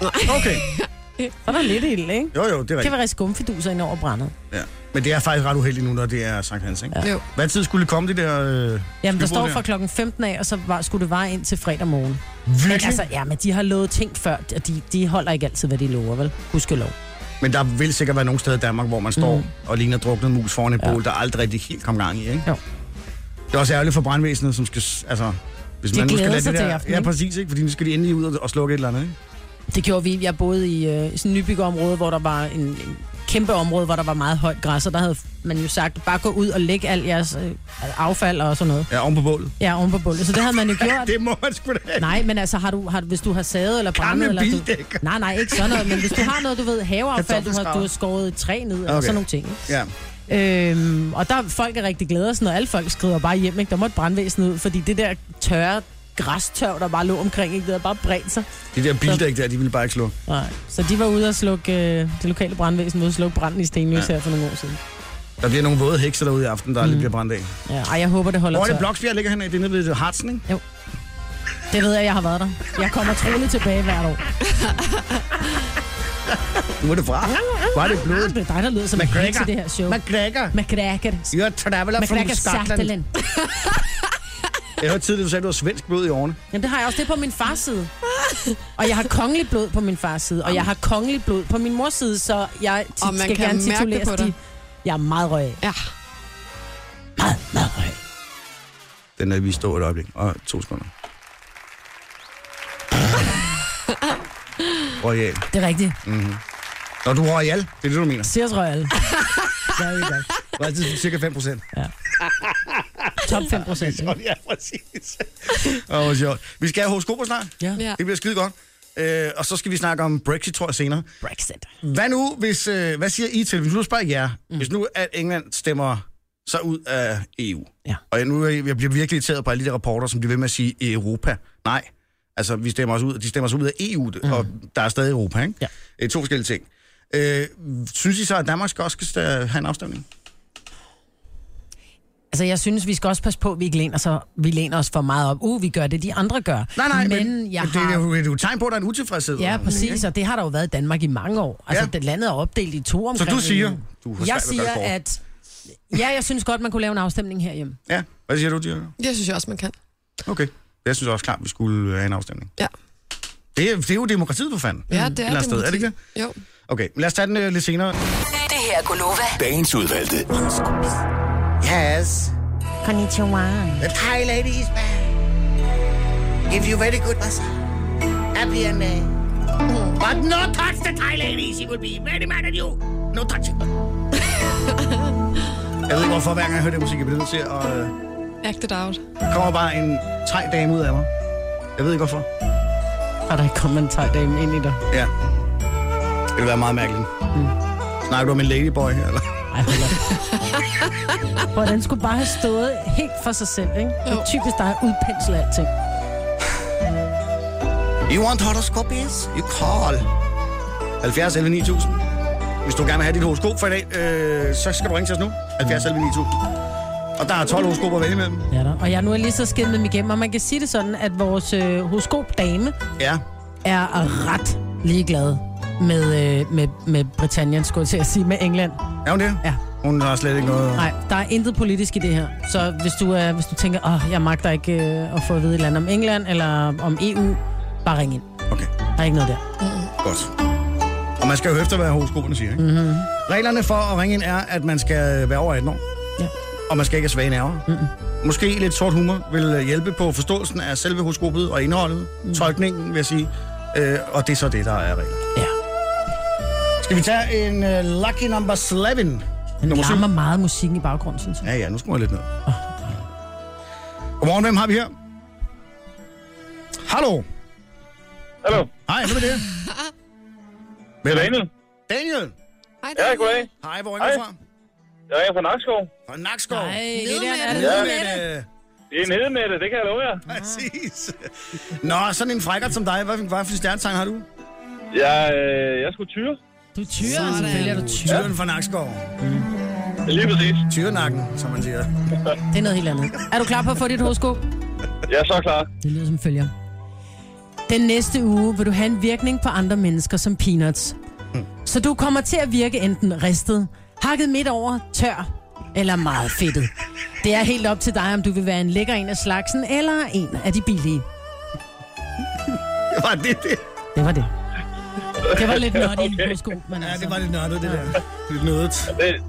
S8: Okay,
S3: Så er der lidt ild, ikke?
S8: jo jo, det er
S3: Det
S8: rigtigt.
S3: kan være skumfiduser ind over brændet.
S8: Ja. Men det er faktisk ret uheldigt nu, når det er Sankt Hans, ikke?
S4: Jo.
S8: Hvad tid skulle det komme, det der... Øh,
S3: Jamen,
S8: skybrud
S3: der står fra klokken 15 af, og så var, skulle det vare ind til fredag morgen. Men
S8: Virkelig?
S3: altså, ja, men de har lovet ting før, og de, de holder ikke altid, hvad de lover, vel? Husk lov.
S8: Men der vil sikkert være nogle steder i Danmark, hvor man står mm. og ligner druknet mus foran et
S3: Ja.
S8: ja. bål, der aldrig rigtig helt kom gang i, ikke?
S3: Jo.
S8: Det er også ærgerligt for brandvæsenet, som skal... s- Altså, hvis
S3: De
S8: man nu skal
S3: glæder
S8: lade
S3: sig
S8: det
S3: til
S8: der,
S3: i aften,
S8: Ja,
S3: ikke?
S8: præcis, ikke? Fordi nu skal de endelig ud og, og slukke et eller andet, ikke?
S3: Det gjorde vi. Jeg boede i øh, i sådan et nybyggerområde, hvor der var en, en kæmpe område, hvor der var meget højt græs, og der havde man jo sagt, bare gå ud og læg al jeres øh, affald og sådan noget.
S8: Ja, oven på bålet.
S3: Ja, oven på bullet. Så det havde
S8: [laughs]
S3: man jo gjort.
S8: Det må man sgu da ikke.
S3: Nej, men altså, har du, har, du- hvis du har savet eller
S8: Gamle
S3: brændet... Eller du,
S8: bildækker.
S3: nej, nej, ikke sådan noget. Men hvis du har noget, du ved, haveaffald, du har, du har skåret et træ ned, okay. og
S8: Okay.
S3: sådan nogle ting. ikke?
S8: Ja.
S3: Øhm, og der er folk er rigtig glade, og sådan, og alle folk skrider bare hjem, ikke? Der måtte brandvæsenet ud, fordi det der tørre græstørv, der bare lå omkring, ikke? Det havde bare bredt sig.
S8: De der bildæk der, de ville bare ikke slukke.
S3: Nej. Så de var ude og slukke øh, det lokale brandvæsen, ude og slukke branden i Stenløs ja. her for nogle år siden.
S8: Der bliver nogle våde hekser derude i aften, der mm. lige bliver brændt af.
S3: Ja, ej, jeg håber, det holder
S8: Hvor er det
S3: tørt.
S8: bloksfjerde ligger henne? Det er nede ved Hartsen, ikke?
S3: Det ved jeg, jeg har været der. Jeg kommer troligt tilbage hvert år.
S8: Nu er det fra. Hvor er det blodet?
S3: Det er dig, der lyder som en heks i det her show.
S8: McGregor,
S3: McCracker.
S8: you're a traveler from
S3: McCracker
S8: Scotland.
S3: Sartelen.
S8: Jeg hørte tidligere, du sagde, du har svensk blod i årene.
S3: Jamen, det har jeg også. Det er på min fars side. Og jeg har kongelig blod på min fars side. Og jeg har kongelig blod på min mors side, så jeg tit
S4: Og man
S3: skal
S4: kan
S3: gerne
S4: mærke det
S3: tituleres
S4: på dig.
S3: de. Jeg er meget røg.
S4: Ja.
S3: Meget, meget røg.
S8: Den er vi stå et øjeblik. Og to sekunder. Royal.
S3: Det er rigtigt.
S8: Når du er royal, det er det, du mener.
S3: Sears Royal. Det er jo godt.
S8: Det er altid cirka 5 procent.
S3: Top 5 procent.
S8: Ja, præcis. Åh, hvor sjovt. Vi skal have horoskoper snart.
S3: Ja.
S4: Ja.
S8: Det bliver skide godt. Øh, og så skal vi snakke om Brexit, tror jeg, senere.
S3: Brexit.
S8: Hvad nu, hvis, øh, hvad siger I til, hvis nu spørger jeg jer, mm. hvis nu at England stemmer sig ud af EU,
S3: Ja.
S8: og jeg, nu er jeg, jeg bliver virkelig irriteret på alle de der rapporter, som bliver ved med at sige Europa. Nej, altså vi stemmer os ud, de stemmer sig ud af EU, mm. og der er stadig Europa, ikke?
S3: Ja.
S8: Øh, to forskellige ting. Øh, synes I så, at Danmark skal også skal have en afstemning?
S3: Altså, jeg synes, vi skal også passe på, at vi ikke læner, så, vi læner os for meget op. Uh, vi gør det, de andre gør.
S8: Nej, nej,
S3: men,
S8: men
S3: jeg
S8: det,
S3: har...
S8: er jo, det er jo et tegn på, at der er en utilfredshed.
S3: Ja,
S8: Og-
S3: præcis, og det har der jo været i Danmark i mange år. Altså,
S8: Ja.
S3: ja. det landet er opdelt i to omkring.
S8: du siger,
S3: EU.
S8: du har
S3: jeg
S8: svært ved
S3: siger,
S8: at gøre
S3: at... Ja, jeg synes godt, man kunne lave en afstemning herhjemme.
S8: Ja, hvad siger du, Dirk?
S4: Det synes jeg også, man kan.
S8: Okay. Jeg synes også klart, vi skulle øh, have en afstemning.
S4: Ja.
S8: Det er, det er jo demokratiet, for fanden.
S4: Ja, det er
S8: Mm. Eller sted, er det ikke det?
S4: demokrati. Jo.
S8: Okay, lad os tage den øh, lidt senere.
S6: Det her er Gunova.
S7: Dagens udvalgte.
S14: Yes,
S3: Konnichiwa.
S14: the Thai lady is back. Give you very good massage. Happy and uh,
S4: Mm.
S14: But no touch the Thai lady. She will be very mad at you. No touching.
S8: [laughs] Jeg ved ikke, hvorfor hver gang jeg hører det musik, jeg bliver nødt til at... Øh,
S4: Act it out.
S8: der kommer bare en tre dame ud af mig. Jeg ved ikke, hvorfor.
S3: Og der kommer en tejdame ind i dig.
S8: Ja. Det vil være meget mærkeligt. Mm. Snakker du om en ladyboy her, eller?
S3: Ej, hold op. [laughs] Hvor den skulle bare have stået helt for sig selv, ikke? Det er
S4: Jo.
S3: typisk dig at udpensle alting.
S8: You want horoscope, yes? You call. 70 11 9000. Hvis du gerne vil have dit horoskop for i dag, øh, så skal du ringe til os nu. 70 11 9000. Og der er 12 horoskoper at vælge imellem.
S3: Ja, da. Og jeg nu er lige så skidt med dem igennem, og man kan sige det sådan, at vores øh, horoskop-dame
S8: Ja.
S3: er ret ligeglad med, øh, med, med Britannien, skulle jeg til at sige, med England.
S8: Er hun det?
S3: Ja.
S8: Hun har slet ikke noget...
S3: Nej, der er intet politisk i det her. Så hvis du, øh, hvis du tænker, at oh, jeg magter ikke øh, at få at vide et eller andet om England eller om EU, bare ring ind.
S8: Okay.
S3: Der er ikke noget der.
S8: Godt. Og man skal jo efter, hvad horoskoperne siger, ikke? Mm-hmm. Reglerne for at ringe ind er, at man skal øh, være over 18 år.
S3: Ja.
S8: Og man skal ikke have svage nerver. Mm-mm. Måske lidt sort humor vil øh, hjælpe på forståelsen af selve horoskopet og indholdet. Mm. Tolkningen, vil jeg sige. Øh, og det er så det, der er regler.
S3: Ja.
S8: Skal vi tage en uh, lucky number 11?
S3: Den
S8: Nummer syv.
S3: larmer meget musikken i baggrunden, synes jeg.
S8: Ja, ja, nu skruer jeg lidt ned. Godmorgen, hvem har vi her? Hallo.
S15: Hallo,
S8: Hej, hvem er det?
S15: det er Daniel.
S8: Daniel.
S4: Hej,
S15: Ja,
S4: Daniel.
S15: goddag.
S8: Hej, hvor er du
S15: Hej.
S8: fra?
S15: Jeg ringer fra Nakskov.
S8: Fra Nakskov.
S4: Ej, det der er
S15: det.
S4: nede
S15: Ja.
S4: med det.
S8: Øh,
S15: Det er nede med det, det kan jeg love jer.
S8: Præcis. Nå, sådan en frækkert som dig, hvad, hvad for en stjernetegn har du?
S15: Jeg, øh, jeg skulle tyre.
S3: Du tyrer, selvfølgelig er du tyr.
S8: Tyren fra Nakskov.
S15: Lige præcis.
S8: Tyrenakken, som man siger.
S3: Det er noget helt andet. Er du klar på at få dit horoskop?
S15: Jeg er så klar.
S3: Det lyder som følger. Den næste uge vil du have en virkning på andre mennesker som peanuts.
S15: Hmm.
S3: Så du kommer til at virke enten ristet, hakket midt over, tør eller meget fedtet. Det er helt op til dig, om du vil være en lækker en af slagsen eller en af de billige.
S8: Det var det, det.
S3: Det var det. Det var lidt nutty okay. horoskop, men
S8: Ja,
S3: altså.
S8: det var lidt nørdet, det der. Lidt nødet.
S15: Det,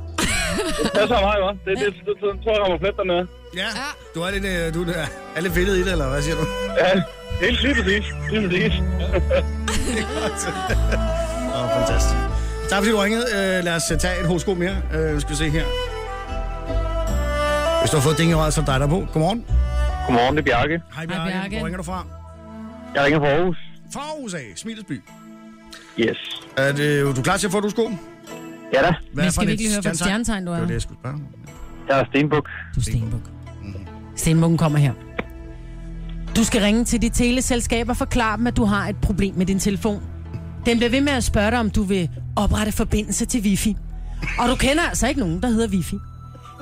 S15: jeg så meget godt. Det, det, det, det, det, tror jeg rammer plet dernede.
S8: Ja, du er lidt, øh, du er- er lidt fedtet i det, eller hvad siger du?
S15: Ja, helt lige præcis. Lige
S8: [laughs]
S15: præcis.
S8: Åh, oh, fantastisk. Tak fordi du ringede. Øh, lad os øh, tage et horoskop mere. Øh, nu skal vi se her. Hvis du har fået ding i røret, så er det dig der er på. Godmorgen.
S15: Godmorgen, det er Bjarke.
S8: Hej Bjarke.
S3: Bjarke.
S8: Hvor ringer du fra?
S15: Jeg ringer fra Aarhus.
S8: Fra USA, Smilesby.
S15: Yes.
S8: Er det, du klar til at få et horoskop?
S15: Ja da,
S8: Hvad
S3: Vi
S8: for
S3: skal
S8: et
S3: virkelig høre, hvilket stjernetegn du
S8: Det
S3: er.
S8: var det, jeg skulle spørge om.
S15: jeg er Stenbuk.
S3: Du er Stenbuk. Mm-hmm. Stenbukken kommer her. Du skal ringe til dit teleselskab og forklare dem, at du har et problem med din telefon. Den bliver ved med at spørge dig, om du vil oprette forbindelse til wifi. Og du kender altså ikke nogen, der hedder wifi.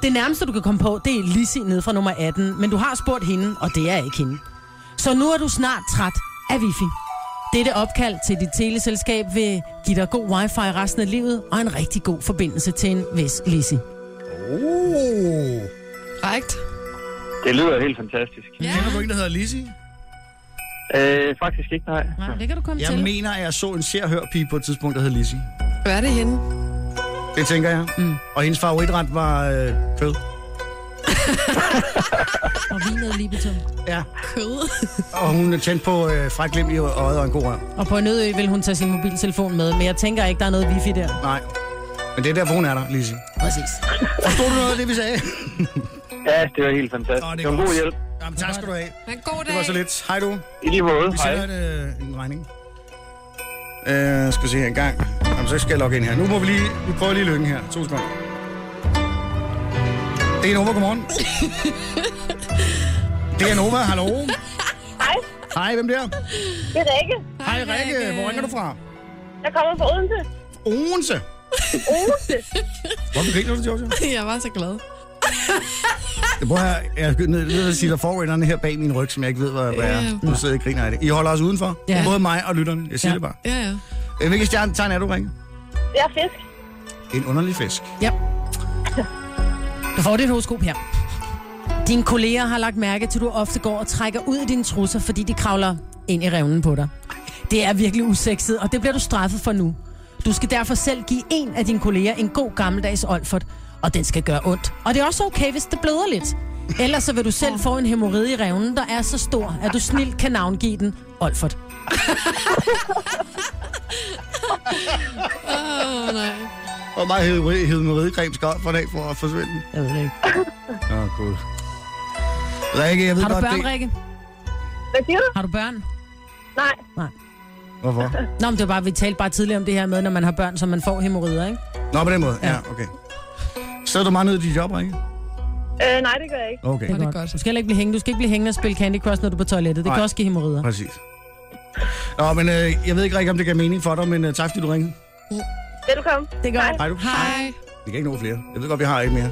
S3: Det nærmeste, du kan komme på, det er Lizzie nede fra nummer 18, men du har spurgt hende, og det er ikke hende. Så nu er du snart træt af wifi. Dette opkald til dit teleselskab vil give dig god wifi resten af livet og en rigtig god forbindelse til en vis Lizzie.
S8: Uh,
S4: Korrekt.
S15: Det lyder helt fantastisk.
S4: Ja.
S8: kender du ikke, der hedder Lizzie?
S15: Øh, faktisk ikke, nej.
S3: Nej, det kan du komme
S8: Jeg
S3: til.
S8: mener, at jeg så en serhørpige på et tidspunkt, der hed Lizzie.
S4: Hvad er det henne?
S8: Det tænker jeg. Mm. Og hendes favoritret var øh, kød.
S3: Og vinet libetum.
S8: Ja.
S4: Kød.
S8: Og hun tændte på øh, fræk glimt i øjet og en god rør.
S3: Og på en øde ø vil hun tage sin mobiltelefon med, men jeg tænker ikke, der er noget wifi der.
S8: Nej. Men det er derfor, hun er der, Lizzie.
S3: Præcis.
S8: Forstod du noget af det, vi sagde?
S15: Ja, det var helt fantastisk.
S8: Nå,
S15: det,
S8: det er
S15: var en god
S8: godt.
S15: hjælp.
S8: Jamen, tak skal du have.
S4: Men god dag.
S8: Det var så lidt. Hej du.
S15: I lige måde.
S8: Vi
S15: Hej.
S8: sender et, øh, en regning. Øh, skal vi se her en gang. Jamen, så skal jeg logge ind her. Nu må vi lige, vi prøver lige lykken her. To sekunder. Det er
S15: [laughs]
S8: Nova, godmorgen. det er Nova, hallo.
S15: Hej.
S8: Hej, hvem der?
S15: Det er Rikke.
S8: Hej Rikke, hvor ringer du fra?
S15: Jeg kommer fra Odense.
S8: Odense. Hvorfor griner du, Jojo?
S4: [laughs] Jeg var så glad.
S8: Det prøver jeg, jeg er nødt til at sige, der er forrinderne her bag min ryg, som jeg ikke ved, hvad, hvad er. Nu sidder jeg og griner af det. I holder os udenfor.
S3: Ja.
S8: Både mig og lytterne. Jeg siger det bare.
S4: Ja, ja.
S8: Øh, Hvilke stjernetegn er du, Rikke?
S15: Jeg er fisk.
S8: En underlig fisk.
S3: Ja. Du får dit horoskop her. Dine kolleger har lagt mærke til, at du ofte går og trækker ud i dine trusser, fordi de kravler ind i revnen på dig. Det er virkelig usekset, og det bliver du straffet for nu. Du skal derfor selv give en af dine kolleger en god gammeldags olfert, og den skal gøre ondt. Og det er også okay, hvis det bløder lidt. Ellers så vil du selv få en hemorrhide i revnen, der er så stor, at du snilt kan navngive den olfert.
S4: Åh, oh, nej.
S8: Hvor meget hed, hed med ridecreme skal op for en dag for at forsvinde?
S3: Jeg ved det ikke.
S8: Åh, oh, cool. Rikke, jeg ved
S3: Har du
S8: godt
S3: børn,
S8: det.
S3: Rikke?
S9: Hvad siger du?
S3: Har du børn?
S9: Nej.
S8: Hvorfor?
S3: Nå, men det var bare, vi talte bare tidligere om det her med, når man har børn, så man får hemorrider, ikke?
S8: Nå, på den måde. Ja, okay. Så er du meget nede i dit job, Rikke?
S9: Øh, nej, det gør jeg ikke.
S8: Okay.
S3: Det er godt. Du skal heller ikke blive hængende. Du skal ikke blive hængende og spille Candy Crush, når du er på toilettet. Det
S8: Nej.
S3: kan også give hemorrider.
S8: Præcis. Nå, men øh, jeg ved ikke, Rikke, om det gav mening for dig, men øh, tak fordi du ringede.
S9: Velkommen.
S3: Det gør
S8: Hej du.
S4: Hej.
S8: Vi kan ikke nå flere. Jeg ved godt, vi har et mere.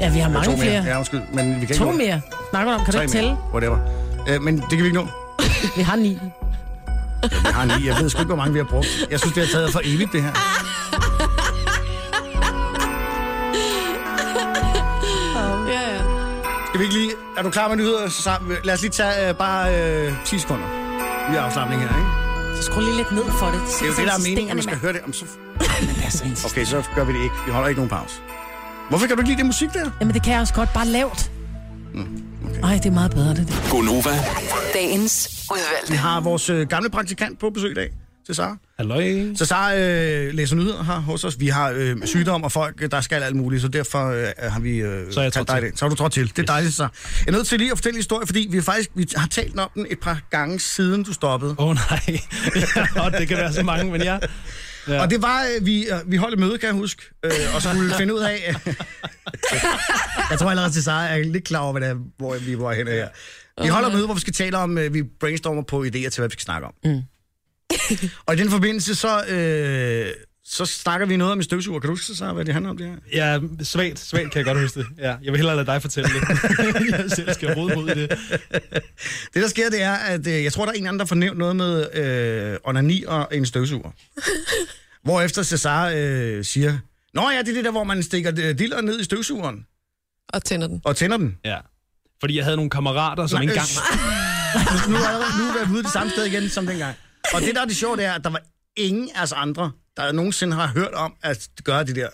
S3: Ja, vi har
S8: Eller
S3: mange
S8: to mere.
S3: flere.
S8: Ja, undskyld, men vi kan ikke
S3: To
S8: nå.
S3: mere. Snakker du om, kan du
S8: Tre
S3: ikke tælle?
S8: mere. Whatever. Øh, men det kan vi ikke nå.
S3: Vi har ni.
S8: Vi har ni. Jeg ved sgu ikke, hvor mange vi har brugt. Jeg synes, det har taget for evigt, det her.
S4: Ja, ja.
S8: Skal vi ikke lige... Er du klar med nyheder? Så sammen- Lad os lige tage øh, bare øh, 10 sekunder. Vi har afslappning her, ikke?
S3: Så skru lige lidt ned for det. Det,
S8: Det er jo det, der er meningen, at man skal høre det. Om så... Okay, så gør vi det ikke. Vi holder ikke nogen pause. Hvorfor kan du ikke lide det musik der?
S3: Jamen, det kan jeg også godt. Bare lavt.
S8: Mm,
S3: Ej, det er meget bedre, det der.
S7: Gonova.
S6: Dagens udvalgte.
S8: Vi
S3: Ah,
S8: har vores øh, gamle praktikant på besøg i dag, Cesar.
S13: Halløj.
S8: Cesar øh, læser nyheder her hos os. Vi har øh, sygdom og folk, øh, der skal alt muligt, så derfor øh, har vi... Øh,
S13: Så er jeg trådt
S8: kaldt dig
S13: til.
S8: det. Så er du trådt til. Det er dejligt, Cesar. Jeg er nødt til lige at fortælle en historie, fordi vi, faktisk, vi har talt om den et par gange siden du stoppede.
S13: Åh oh, nej. [laughs] ja, og det kan være så mange, men ja.
S8: Ja. Og det var, øh, vi, øh, vi holdt et møde, kan jeg huske, øh, og skulle finde ud af... øh, jeg tror allerede, Cesar er lidt klar over, hvad det er, hvor vi var henne her. Vi holder et møde, hvor vi skal tale om, øh, vi brainstormer på idéer til, hvad vi skal snakke om. Mm. og i den forbindelse, så, øh, så snakker vi noget om en støvsuger. Kan du huske, Cesar, hvad det handler om det her?
S13: Ja, svagt, svagt kan jeg godt huske det. Ja, jeg vil hellere lade dig fortælle
S8: [laughs]
S13: det. jeg selv skal rode mod i det.
S8: Det, der sker, det er, at øh, jeg tror, der er en eller anden, der får nævnt noget med øh, onani og en støvsuger. Hvorefter Cesar øh, siger, Nå ja, det er det der, hvor man stikker øh, diller ned i støvsugeren
S4: Og tænder den.
S8: og tænder den.
S13: Ja. Fordi jeg havde nogle kammerater, som
S8: Nej,
S13: ikke engang...
S8: øh, nu, er jeg, nu er jeg ude det samme sted igen som dengang. Og det, der er det sjove, det er, at der var ingen af os andre, der nogensinde har hørt om at gøre det der.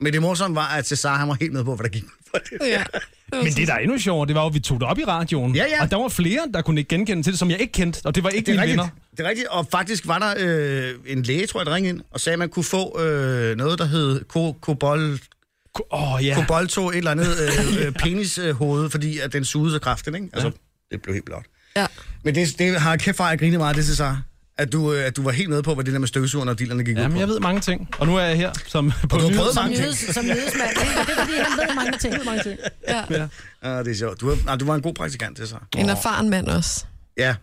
S8: Men det morsomme var, at Cesar han var helt med på, hvad der gik for det.
S4: Ja.
S13: Men det, der er endnu sjovere, det var jo, at vi tog det op i radioen.
S8: Ja, ja.
S13: Og der var flere, der kunne ikke genkende til det, som jeg ikke kendte. Og det var ikke
S8: Det er
S13: mine
S8: rigtigt.
S13: venner.
S8: Det er rigtigt, og faktisk var der øh, en læge, tror jeg, der ringede ind og sagde, at man kunne få øh, noget, der hed ko- kobol,
S13: Ku- Åh, oh, ja.
S8: kobolto, et eller andet øh, øh, penishoved, fordi at den sugede så kraftigt, ikke? Altså, ja. det blev helt blot.
S4: Ja.
S8: Men det, det har kæft for, at jeg grinede meget, det Cesar. At du, øh, at du var helt med på, hvad det der med støvsugeren og dillerne gik ud
S13: Jamen,
S8: på.
S13: jeg ved mange ting. Og nu er jeg her som på
S8: Og du har
S13: nyheder.
S8: prøvet mange ting.
S3: Nyheds, som nyhedsmand. ikke? Og Det er fordi, han ved mange ting. Mange ting.
S4: ja.
S8: Ah, det er sjovt. Du, er, nej, du var en god praktikant, det så.
S4: En erfaren mand også.
S8: Ja.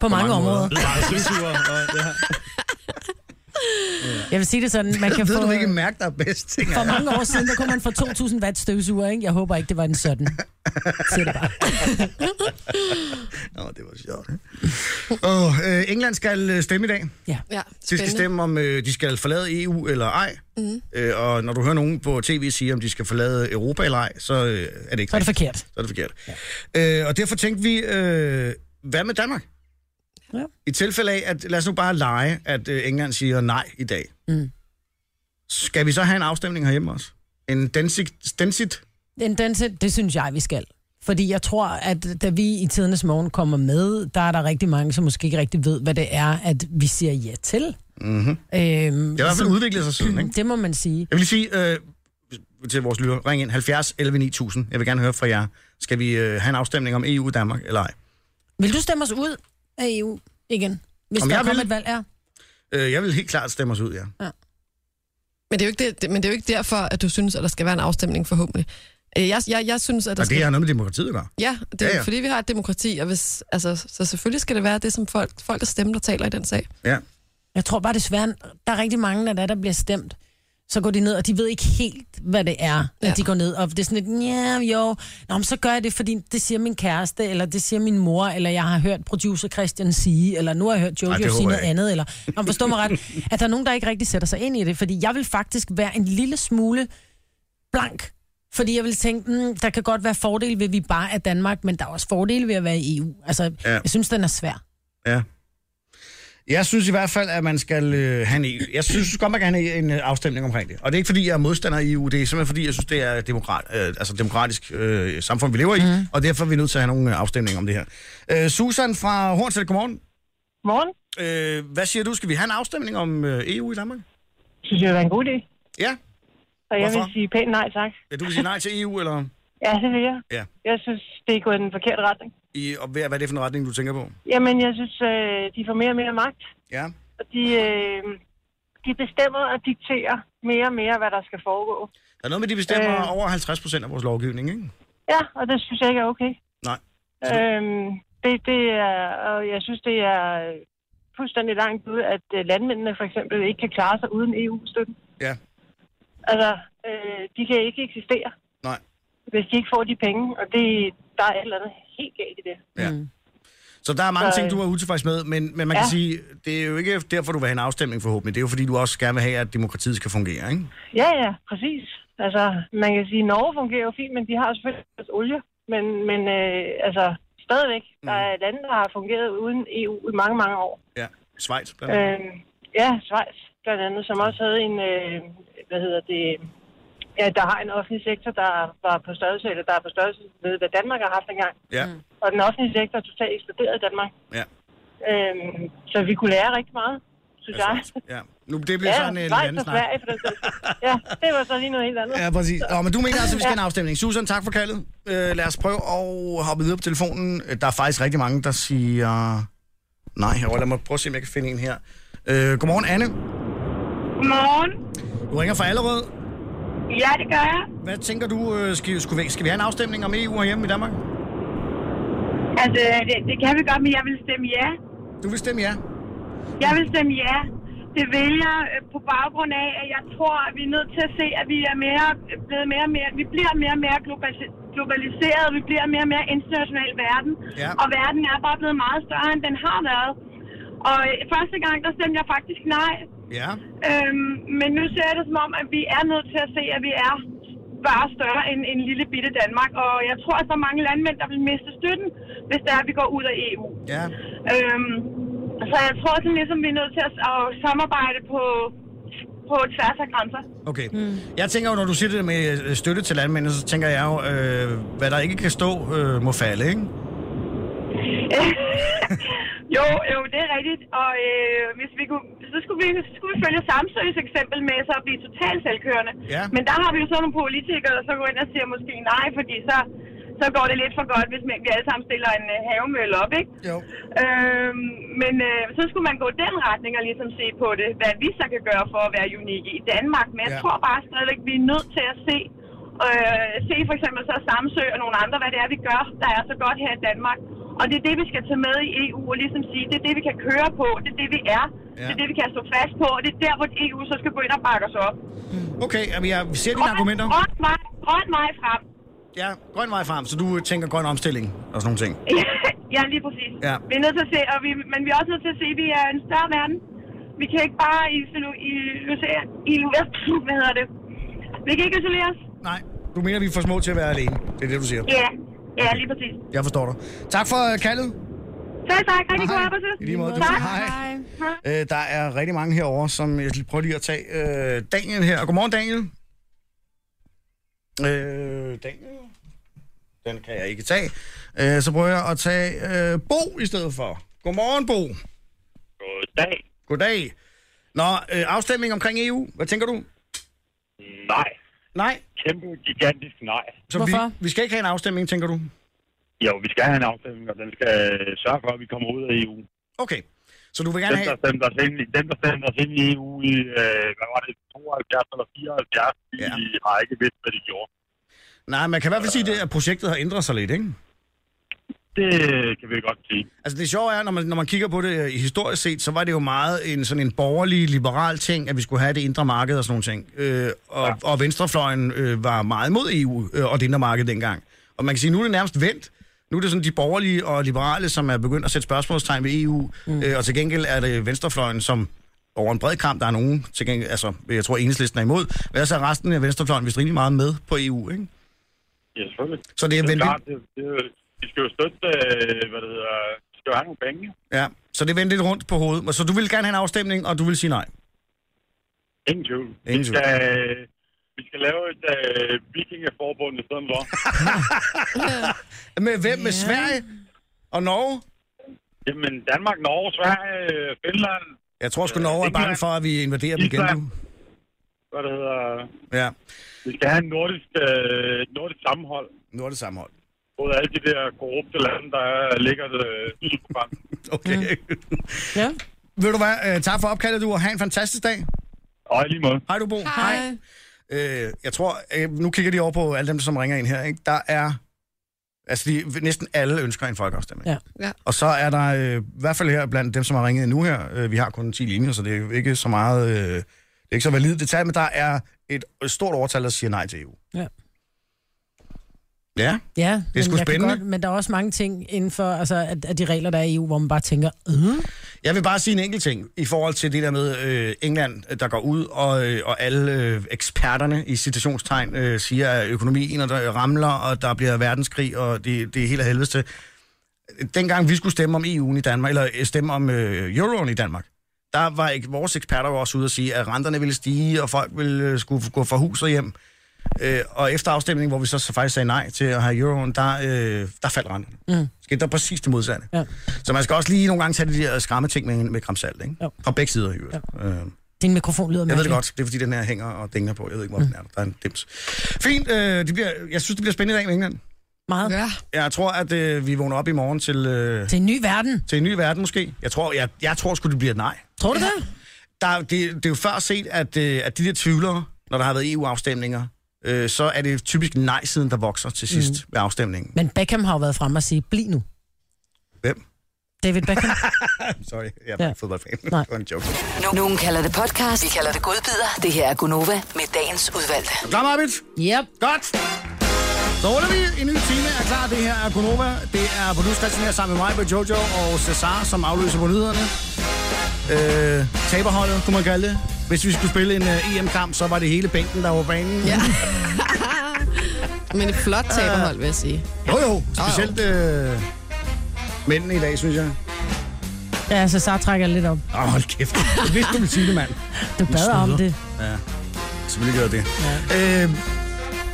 S3: På mange
S8: mange
S3: områder.
S8: måder.
S3: [laughs]
S13: Det var støvsuger, og det her.
S3: Jeg vil sige det sådan, man
S8: Jeg
S3: kan
S8: ved
S3: få...
S8: du ikke
S13: øh,
S8: mærke, der er bedst ting?
S3: For mange år siden, der kunne man få 2.000 watt støvsuger, ikke? Jeg håber ikke, det var en sådan. Siger det bare.
S8: Nå, det var sjovt. ikke? Og, øh, England skal øh, stemme i dag.
S4: Ja,
S8: De skal
S4: spændende.
S8: stemme, om øh, de skal forlade EU eller ej. Mm. Øh, og når du hører nogen på tv sige, om de skal forlade Europa eller ej, så øh, er det ikke
S3: Så er det
S8: rigtigt.
S3: forkert.
S8: Så er det forkert. Ja. Øh, og derfor tænkte vi, øh, hvad med Danmark?
S3: Ja.
S8: I tilfælde af, at lad os nu bare lege, at øh, England siger nej i dag.
S3: Mm.
S8: Skal vi så have en afstemning herhjemme også? En Densit? Densit?
S3: Den, den, det synes jeg, vi skal. Fordi jeg tror, at da vi i tidernes morgen kommer med, der er der rigtig mange, som måske ikke rigtig ved, hvad det er, at vi siger ja til. Mm-hmm. Øhm,
S8: Det har i hvert fald udviklet sig siden, ikke?
S3: det må man sige.
S8: Jeg vil lige sige øh, til vores lytter, ring ind 70 11 9000. Jeg vil gerne høre fra jer. Skal vi øh, have en afstemning om EU i Danmark eller ej?
S3: Vil du stemme os ud af EU igen? Hvis
S8: Om
S3: der
S8: jeg
S3: kommer
S8: vil?
S3: et valg, ja.
S8: Øh, jeg vil helt klart stemme os ud, ja.
S4: Men det, er jo ikke det, det, men det er jo ikke derfor, at du synes, at der skal være en afstemning forhåbentlig. Øh, Jeg, jeg, jeg synes, at der
S8: Og det
S4: skal...
S8: har noget med demokratiet at gøre.
S4: Ja, det er
S8: Ja,
S4: ja,
S8: ja.
S4: ja. fordi, vi har et demokrati, og hvis, altså, så selvfølgelig skal det være det, som folk, folk der stemmer, der taler i den sag.
S8: Ja.
S3: Jeg tror bare desværre, der er rigtig mange, når der, er, der bliver stemt, så går de ned, og de ved ikke helt, hvad det er, ja.
S4: Ja.
S3: at de går ned. Og det er sådan lidt, ja, jo, Nå, men så gør jeg det, fordi det siger min kæreste, eller det siger min mor, eller jeg har hørt producer Christian sige, eller nu har jeg hørt
S8: Ej, det
S3: Jojo
S8: håber
S3: sige
S8: jeg
S3: noget
S8: ikke.
S3: andet. Eller, Nå, men forstå mig ret, at der er nogen, der ikke rigtig sætter sig ind i det, fordi jeg vil faktisk være en lille smule blank Fordi jeg vil tænke, mm, der kan godt være fordele ved, at vi bare er Danmark, men der er også fordele ved at være i EU. Altså, ja. jeg synes, den er svær.
S8: Ja. Jeg synes i hvert fald, at man skal øh, have en EU. Jeg synes godt, man kan have en øh, afstemning omkring det. Og det er ikke, fordi jeg er modstander i EU. Det er simpelthen, fordi jeg synes, det er demokrat, øh, altså demokratisk øh, samfund, vi lever i. Mm. Og derfor er vi nødt til at have nogle øh, afstemninger om det her. Øh, Susan fra Hornsæt, godmorgen.
S9: Morgen.
S8: Øh, hvad siger du? Skal vi have en afstemning om øh, EU i Danmark?
S9: Synes jeg, det er en god idé.
S8: Ja.
S9: Så jeg
S8: Hvorfor?
S9: vil sige pænt nej, tak.
S8: Ja, du vil sige nej til EU, eller?
S9: Ja, det vil jeg.
S8: Ja.
S9: Jeg synes, det er gået i den forkerte retning.
S8: I, og hvad hvad er det for en retning, du tænker på?
S9: Jamen, jeg synes, øh, de får mere og mere magt.
S8: Ja.
S9: Og de, øh, de bestemmer og dikterer mere og mere, hvad der skal foregå.
S8: Der er noget med, de bestemmer
S9: Øh.
S8: øh... over 50 procent af vores lovgivning, ikke?
S9: Ja, og det synes jeg ikke er okay.
S8: Nej.
S9: Øhm, det, det er, og jeg synes, det er fuldstændig langt ud, at øh, landmændene for eksempel ikke kan klare sig uden EU-støtten.
S8: Ja.
S9: Altså, øh, de kan ikke eksistere,
S8: Nej.
S9: hvis de ikke får de penge, og det, der er et eller andet helt galt i det.
S8: Ja. Mm. Så der er mange
S9: Så,
S8: ting,
S9: øh,
S8: du er utilfreds med, men, men man ja.
S9: ja.
S8: kan sige, det er jo ikke derfor, du vil have en afstemning forhåbentlig. Det er jo fordi, du også gerne vil have, at demokratiet skal fungere, ikke?
S9: Ja, ja, præcis. Altså, man kan sige, at Norge fungerer jo fint, men de har selvfølgelig deres olie. Men, men øh, altså, stadigvæk, der er lande, der har fungeret uden EU i mange, mange år.
S8: Mm. Ja. Schweiz, blandt andet.
S9: Øh, ja, Schweiz blandt andet, som også havde en, øh, hvad hedder det, ja, der har en offentlig sektor, der var på størrelse, eller der er på størrelse ved, hvad Danmark har haft engang.
S8: Ja.
S9: Og den offentlige sektor er totalt eksploderet i Danmark.
S8: Ja.
S9: Øh, så vi kunne lære rigtig meget, synes
S8: Altså,
S9: jeg.
S8: ja. Nu, det bliver ja, sådan en
S9: Schweiz
S8: anden
S9: og
S8: snak.
S9: Sverige, for den sags skyld. Ja, det var så lige noget helt andet.
S8: Ja, præcis. Nå, men du mener altså, at vi skal
S9: Ja.
S8: have en afstemning. Susan, tak for kaldet. Øh, lad os prøve at hoppe videre på telefonen. Øh, Der er faktisk rigtig mange, der siger... Nej, herovre, lad mig prøve at se, om jeg kan finde en her. Øh, godmorgen, Anne.
S16: Godmorgen.
S8: Du ringer fra Allerød.
S16: Ja, det gør jeg.
S8: Hvad tænker du, øh, skal, skulle vi, skal vi have en afstemning om EU herhjemme i Danmark?
S16: Altså, det, det kan vi godt, men jeg vil stemme ja.
S8: Du vil stemme ja?
S16: Jeg vil stemme ja. Det vil jeg øh, på baggrund af, at jeg tror, at vi er nødt til at se, at vi er mere, blevet mere og mere, vi bliver mere og mere globalis- globaliseret, og vi bliver mere og mere international verden.
S17: Ja.
S16: Og verden er bare blevet meget større, end den har været. Og øh, første gang, der stemte jeg faktisk nej.
S8: Ja.
S16: Øhm, men nu ser jeg det som om, at vi er nødt til at se, at vi er bare større end en lille bitte Danmark. Og jeg tror, at der er mange landmænd, der vil miste støtten, hvis det er, at vi går ud af EU.
S8: Ja.
S16: Øhm, så jeg tror sådan ligesom, vi er nødt til at, at samarbejde på, på tværs af grænser.
S8: Okay. Mm. Jeg tænker jo, når du siger det med øh, støtte til landmændene, så tænker jeg jo, øh, hvad der ikke kan stå, øh, må falde, ikke?
S16: Jo, jo, det er rigtigt. Og øh, hvis vi kunne, så skulle vi, så skulle vi følge Samsøs eksempel med så at blive totalt selvkørende.
S8: Ja.
S16: Men der har vi jo så nogle politikere, der så går ind og siger måske nej, fordi så, så går det lidt for godt, hvis vi alle sammen stiller en øh, havemølle op, ikke?
S8: Jo.
S16: Øhm, men øh, så skulle man gå den retning og ligesom se på det, hvad vi så kan gøre for at være unikke i Danmark. Men jeg
S8: Ja.
S16: ja. tror bare stadigvæk, vi er nødt til at se, øh, se for eksempel så Samsø og nogle andre, hvad det er, vi gør, der er så godt her i Danmark. Og det er det, vi skal tage med i EU og ligesom sige, det er det, vi kan køre på, det er det, vi er, ja. det er det, vi kan stå fast på, og det er der, hvor EU så skal gå ind og bakke os op.
S8: Okay, jamen, jeg ser dine argumenter.
S16: Grøn vej, grøn vej frem. [laughs]
S8: Ja, grøn vej frem, så du tænker grøn omstilling og sådan nogle ting.
S16: ja, lige præcis.
S8: Ja.
S16: Vi er nødt til at se, og vi, men vi er også nødt til at se, at vi er en større verden. Vi kan ikke bare isolere, isolere, isolere [laughs] hvad hedder det? Vi kan ikke isolere os.
S8: Nej. Du mener, vi er for små til at være alene. Det er det, du siger.
S16: Ja, ja lige præcis.
S8: Jeg forstår dig. Tak for øh, kaldet.
S16: Selv tak, rigtig god
S8: Hej.
S16: arbejde.
S8: I lige måde, du.
S16: Tak.
S8: Hej. Øh, der er rigtig mange herover, som jeg lige- prøver lige at tage øh, Daniel her. Godmorgen, Daniel. Øh, Daniel? Den kan jeg ikke tage. Øh, så prøver jeg at tage øh, Bo i stedet for. Godmorgen, Bo.
S10: Goddag.
S8: Goddag. Nå, øh, afstemning omkring EU. Hvad tænker du?
S10: Nej.
S8: Nej?
S10: Kæmpe, gigantisk nej.
S8: Så Vi, vi skal ikke have en afstemning, tænker du?
S10: Jo, vi skal have en afstemning, og den skal øh, sørge for, at vi kommer ud af EU.
S8: Okay. Så du vil
S10: Dem,
S8: gerne
S10: der
S8: have...
S10: stemte os ind, i- dem, der stemte os ind i EU i, øh, hvad var det, 72 eller 74, de ja. har ikke vidst, hvad de gjorde.
S8: Nej, man kan i hvert fald sige, det, at projektet har ændret sig lidt, ikke?
S10: Det kan vi godt sige.
S8: Altså det sjove er, når man, når man kigger på det øh, historisk set, så var det jo meget en sådan en borgerlig, liberal ting, at vi skulle have det indre marked og sådan nogle ting. Øh, og, ja. og venstrefløjen øh, var meget mod EU øh, og det indre marked dengang. Og man kan sige, nu er det nærmest vendt. Nu er det sådan de borgerlige og liberale, som er begyndt at sætte spørgsmålstegn ved EU, mm. øh, og til gengæld er det venstrefløjen, som over en bred kamp, der er nogen, til gengæld, altså jeg tror enhedslisten er imod, men ellers er resten af venstrefløjen vist rimelig meget med på EU, ikke?
S10: Ja, selvfølgelig.
S8: Så det er
S10: det
S8: venlig-
S10: klart, det, det, de skal jo støtte, øh, hvad det hedder, de skal jo have nogle penge.
S8: Ja, så det vendte lidt rundt på hovedet. Så du vil gerne have en afstemning, og du vil sige nej?
S10: Ingen tvivl.
S8: Ingen
S10: vi,
S8: tvivl.
S10: skal, øh, vi skal lave et øh, vikingeforbund i stedet
S8: [laughs]
S10: for.
S8: Med hvem? Med Sverige og Norge?
S10: Jamen, Danmark, Norge, Sverige, øh, Finland,
S8: Jeg tror sgu, Norge er bange for, at vi invaderer dem igen nu.
S10: hvad det hedder.
S8: Ja.
S10: Vi skal have en nordisk, øh, et nordisk sammenhold.
S8: Nordisk sammenhold.
S10: Både alle de der korrupte lande, der er- ligger øh, syd på grænsen.
S8: Okay.
S12: Ja.
S8: Ved du hvad? øh, Tak for opkaldet, du, og have en fantastisk dag.
S10: Og i lige måde.
S8: Hej, du Bo. Hej. Øh, jeg tror, øh, nu kigger de over på alle dem, som ringer ind her. Ikke? Der er... Altså, de, næsten alle ønsker en folkeafstemning.
S12: Ja.
S4: Ja.
S8: Og så er der, øh, i hvert fald her blandt dem, som har ringet nu her, øh, vi har kun 10 linjer, så det er jo ikke så meget, øh, det er ikke så validt detalje, men der er et stort overtal, der siger nej til E EU.
S12: Ja.
S8: Ja,
S3: Ja,
S8: det er sgu
S3: men, jeg kan
S8: spændende.
S3: Godt, men der er også mange ting inden for altså, at, at de regler, der er i EU, hvor man bare tænker, øh,
S8: Jeg vil bare sige en enkelt ting i forhold til det der med øh, England, øh, der går ud, og, øh, og alle øh, eksperterne i citationstegn øh, siger, at økonomien og der ramler, og der bliver verdenskrig, og det, det er helt af helvedes til. Dengang vi skulle stemme om EU'en i Danmark, eller øh, stemme om øh, euroen i Danmark, der var ikke, vores eksperter var også ude og sige, at renterne ville stige, og folk ville øh, skulle gå fra hus og hjem. Øh, og efter afstemningen, hvor vi så, så faktisk sagde nej til at have euroen, der, øh, der faldt renten.
S3: Mm.
S8: Skete der præcis det modsatte.
S3: Ja.
S8: Så man skal også lige nogle gange tage de der skræmme ting med, med kramsalt, ikke? Jo. Fra begge sider i øvrigt. Ja. Øh,
S3: din mikrofon lyder
S8: jeg ved det
S3: mærkeligt.
S8: godt, det er fordi, den her hænger og dænger på. Jeg ved ikke, hvor den er. Der er en dims. Fint, øh, det bliver, jeg synes, det bliver spændende i dag med England.
S3: Meget.
S4: Ja.
S8: Jeg tror, at øh, vi vågner op i morgen til... Øh,
S3: Til en ny verden.
S8: Til en ny verden, måske. Jeg tror, jeg, jeg tror sgu, det bliver et nej.
S3: Tror du det?
S8: Der, det, det er jo før set, at, øh, at de der tvivlere, når der har været EU-afstemninger, øh, så er det typisk nej-siden, der vokser til sidst mm. ved afstemningen.
S3: Men Beckham har jo været fremme og sige, bliv nu.
S8: Hvem?
S3: David Beckham.
S8: Sorry, jeg er ja.
S3: Ja.
S8: ikke fodboldfan. Nej. Det var en joke.
S6: Nogen kalder det podcast, vi kalder det godbider. Det her er Gunova med dagens udvalgte.
S8: Klar, Marbit?
S3: Yep.
S8: Godt. Så ruller vi en ny time. Er klar, det her er Gunova. Det er producer Christian her sammen med mig, med Jojo og Cesar, som afløser på nyhederne. Øh, taberholdet, kunne man kalde det. Hvis vi skulle spille en øh, EM-kamp, så var det hele bænken, der var på banen. Ja.
S4: Men et flot taberhold, vil jeg sige.
S8: Ah, Jo, jo. Specielt øh, mændene i dag, synes jeg.
S3: Ja, så så trækker jeg lidt op.
S8: Åh, oh, hold kæft. Jeg vidste, du ville sige det, mand.
S3: Du bader om det.
S8: Ja, selvfølgelig gør jeg det. Ja. Øh,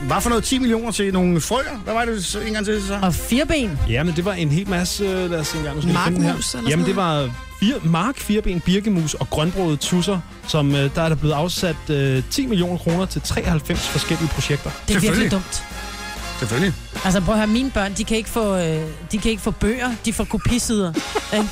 S8: hvad for noget 10 millioner til nogle frøer? Hvad var det så en gang til? Så?
S3: Og fireben.
S13: Ja, men det var en hel masse, øh, lad os se engang, nu skal jeg finde den
S4: Markmus
S13: her.
S4: eller
S13: Jamen, det
S4: sådan
S13: var fire, mark, fireben, birkemus og grønbrodet tusser, som øh, der er der blevet afsat øh, 10 millioner kroner til 93 forskellige projekter.
S3: Det er
S8: Selvfølgelig.
S3: virkelig dumt.
S8: Selvfølgelig.
S3: Altså prøv at høre, mine børn, de kan ikke få, øh, de kan ikke få bøger, de får
S8: [laughs]
S3: kopisider. ikke?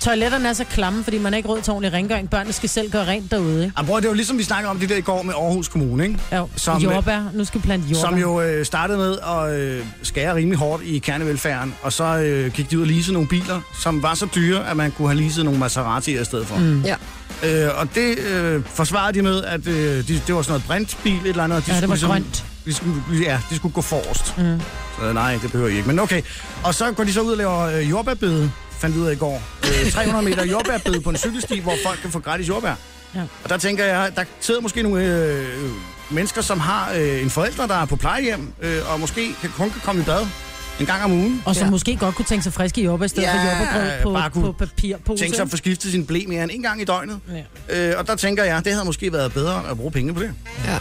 S3: Toiletterne er så klamme, fordi man har ikke råd til ordentlig rengøring. Børnene skal selv gøre rent derude, ikke?
S8: Jamen, bror, det er jo ligesom, vi snakkede om det der i går med Aarhus Kommune, ikke?
S3: Jo,
S8: Som,
S3: som,
S8: øh,
S3: jordbær. Nu skal vi plante jordbær.
S8: Som jo øh, startede med at øh, skære rimelig hårdt i kernevelfærden, og så øh, gik de ud og leasede nogle biler, som var så dyre, at man kunne have leaset nogle Maserati'er i stedet for. Mm.
S4: Ja.
S8: Øh, og det øh, forsvarede de med, at øh, de, det var sådan noget brintbil, et eller andet. og De
S3: Ja, det var
S8: skulle ligesom-
S3: grønt.
S8: De skulle, ja, de skulle gå forrest. Mm. Så nej, det behøver I ikke. Men okay. Og så går de så ud og laver øh, jordbærbede, fandt vi ud af i går. Øh, 300 meter jordbærbede på en cykelsti, hvor folk kan få gratis jordbær.
S3: Ja.
S8: Og der tænker jeg, der sidder måske nogle øh, mennesker, som har øh, en forælder, der er på plejehjem, øh, og måske kan, kun kan komme i bad en gang om ugen.
S3: Og som ja. måske godt kunne tænke sig friske jordbær, i stedet
S8: Ja,
S3: ja, for jordbærgrød på,
S8: bare kunne
S3: på papir. På
S8: Tænk sig at få skiftet sin blæ mere end en gang i døgnet.
S3: ja.
S8: Øh, og der tænker jeg, det havde måske været bedre at bruge penge på det.
S4: Ja.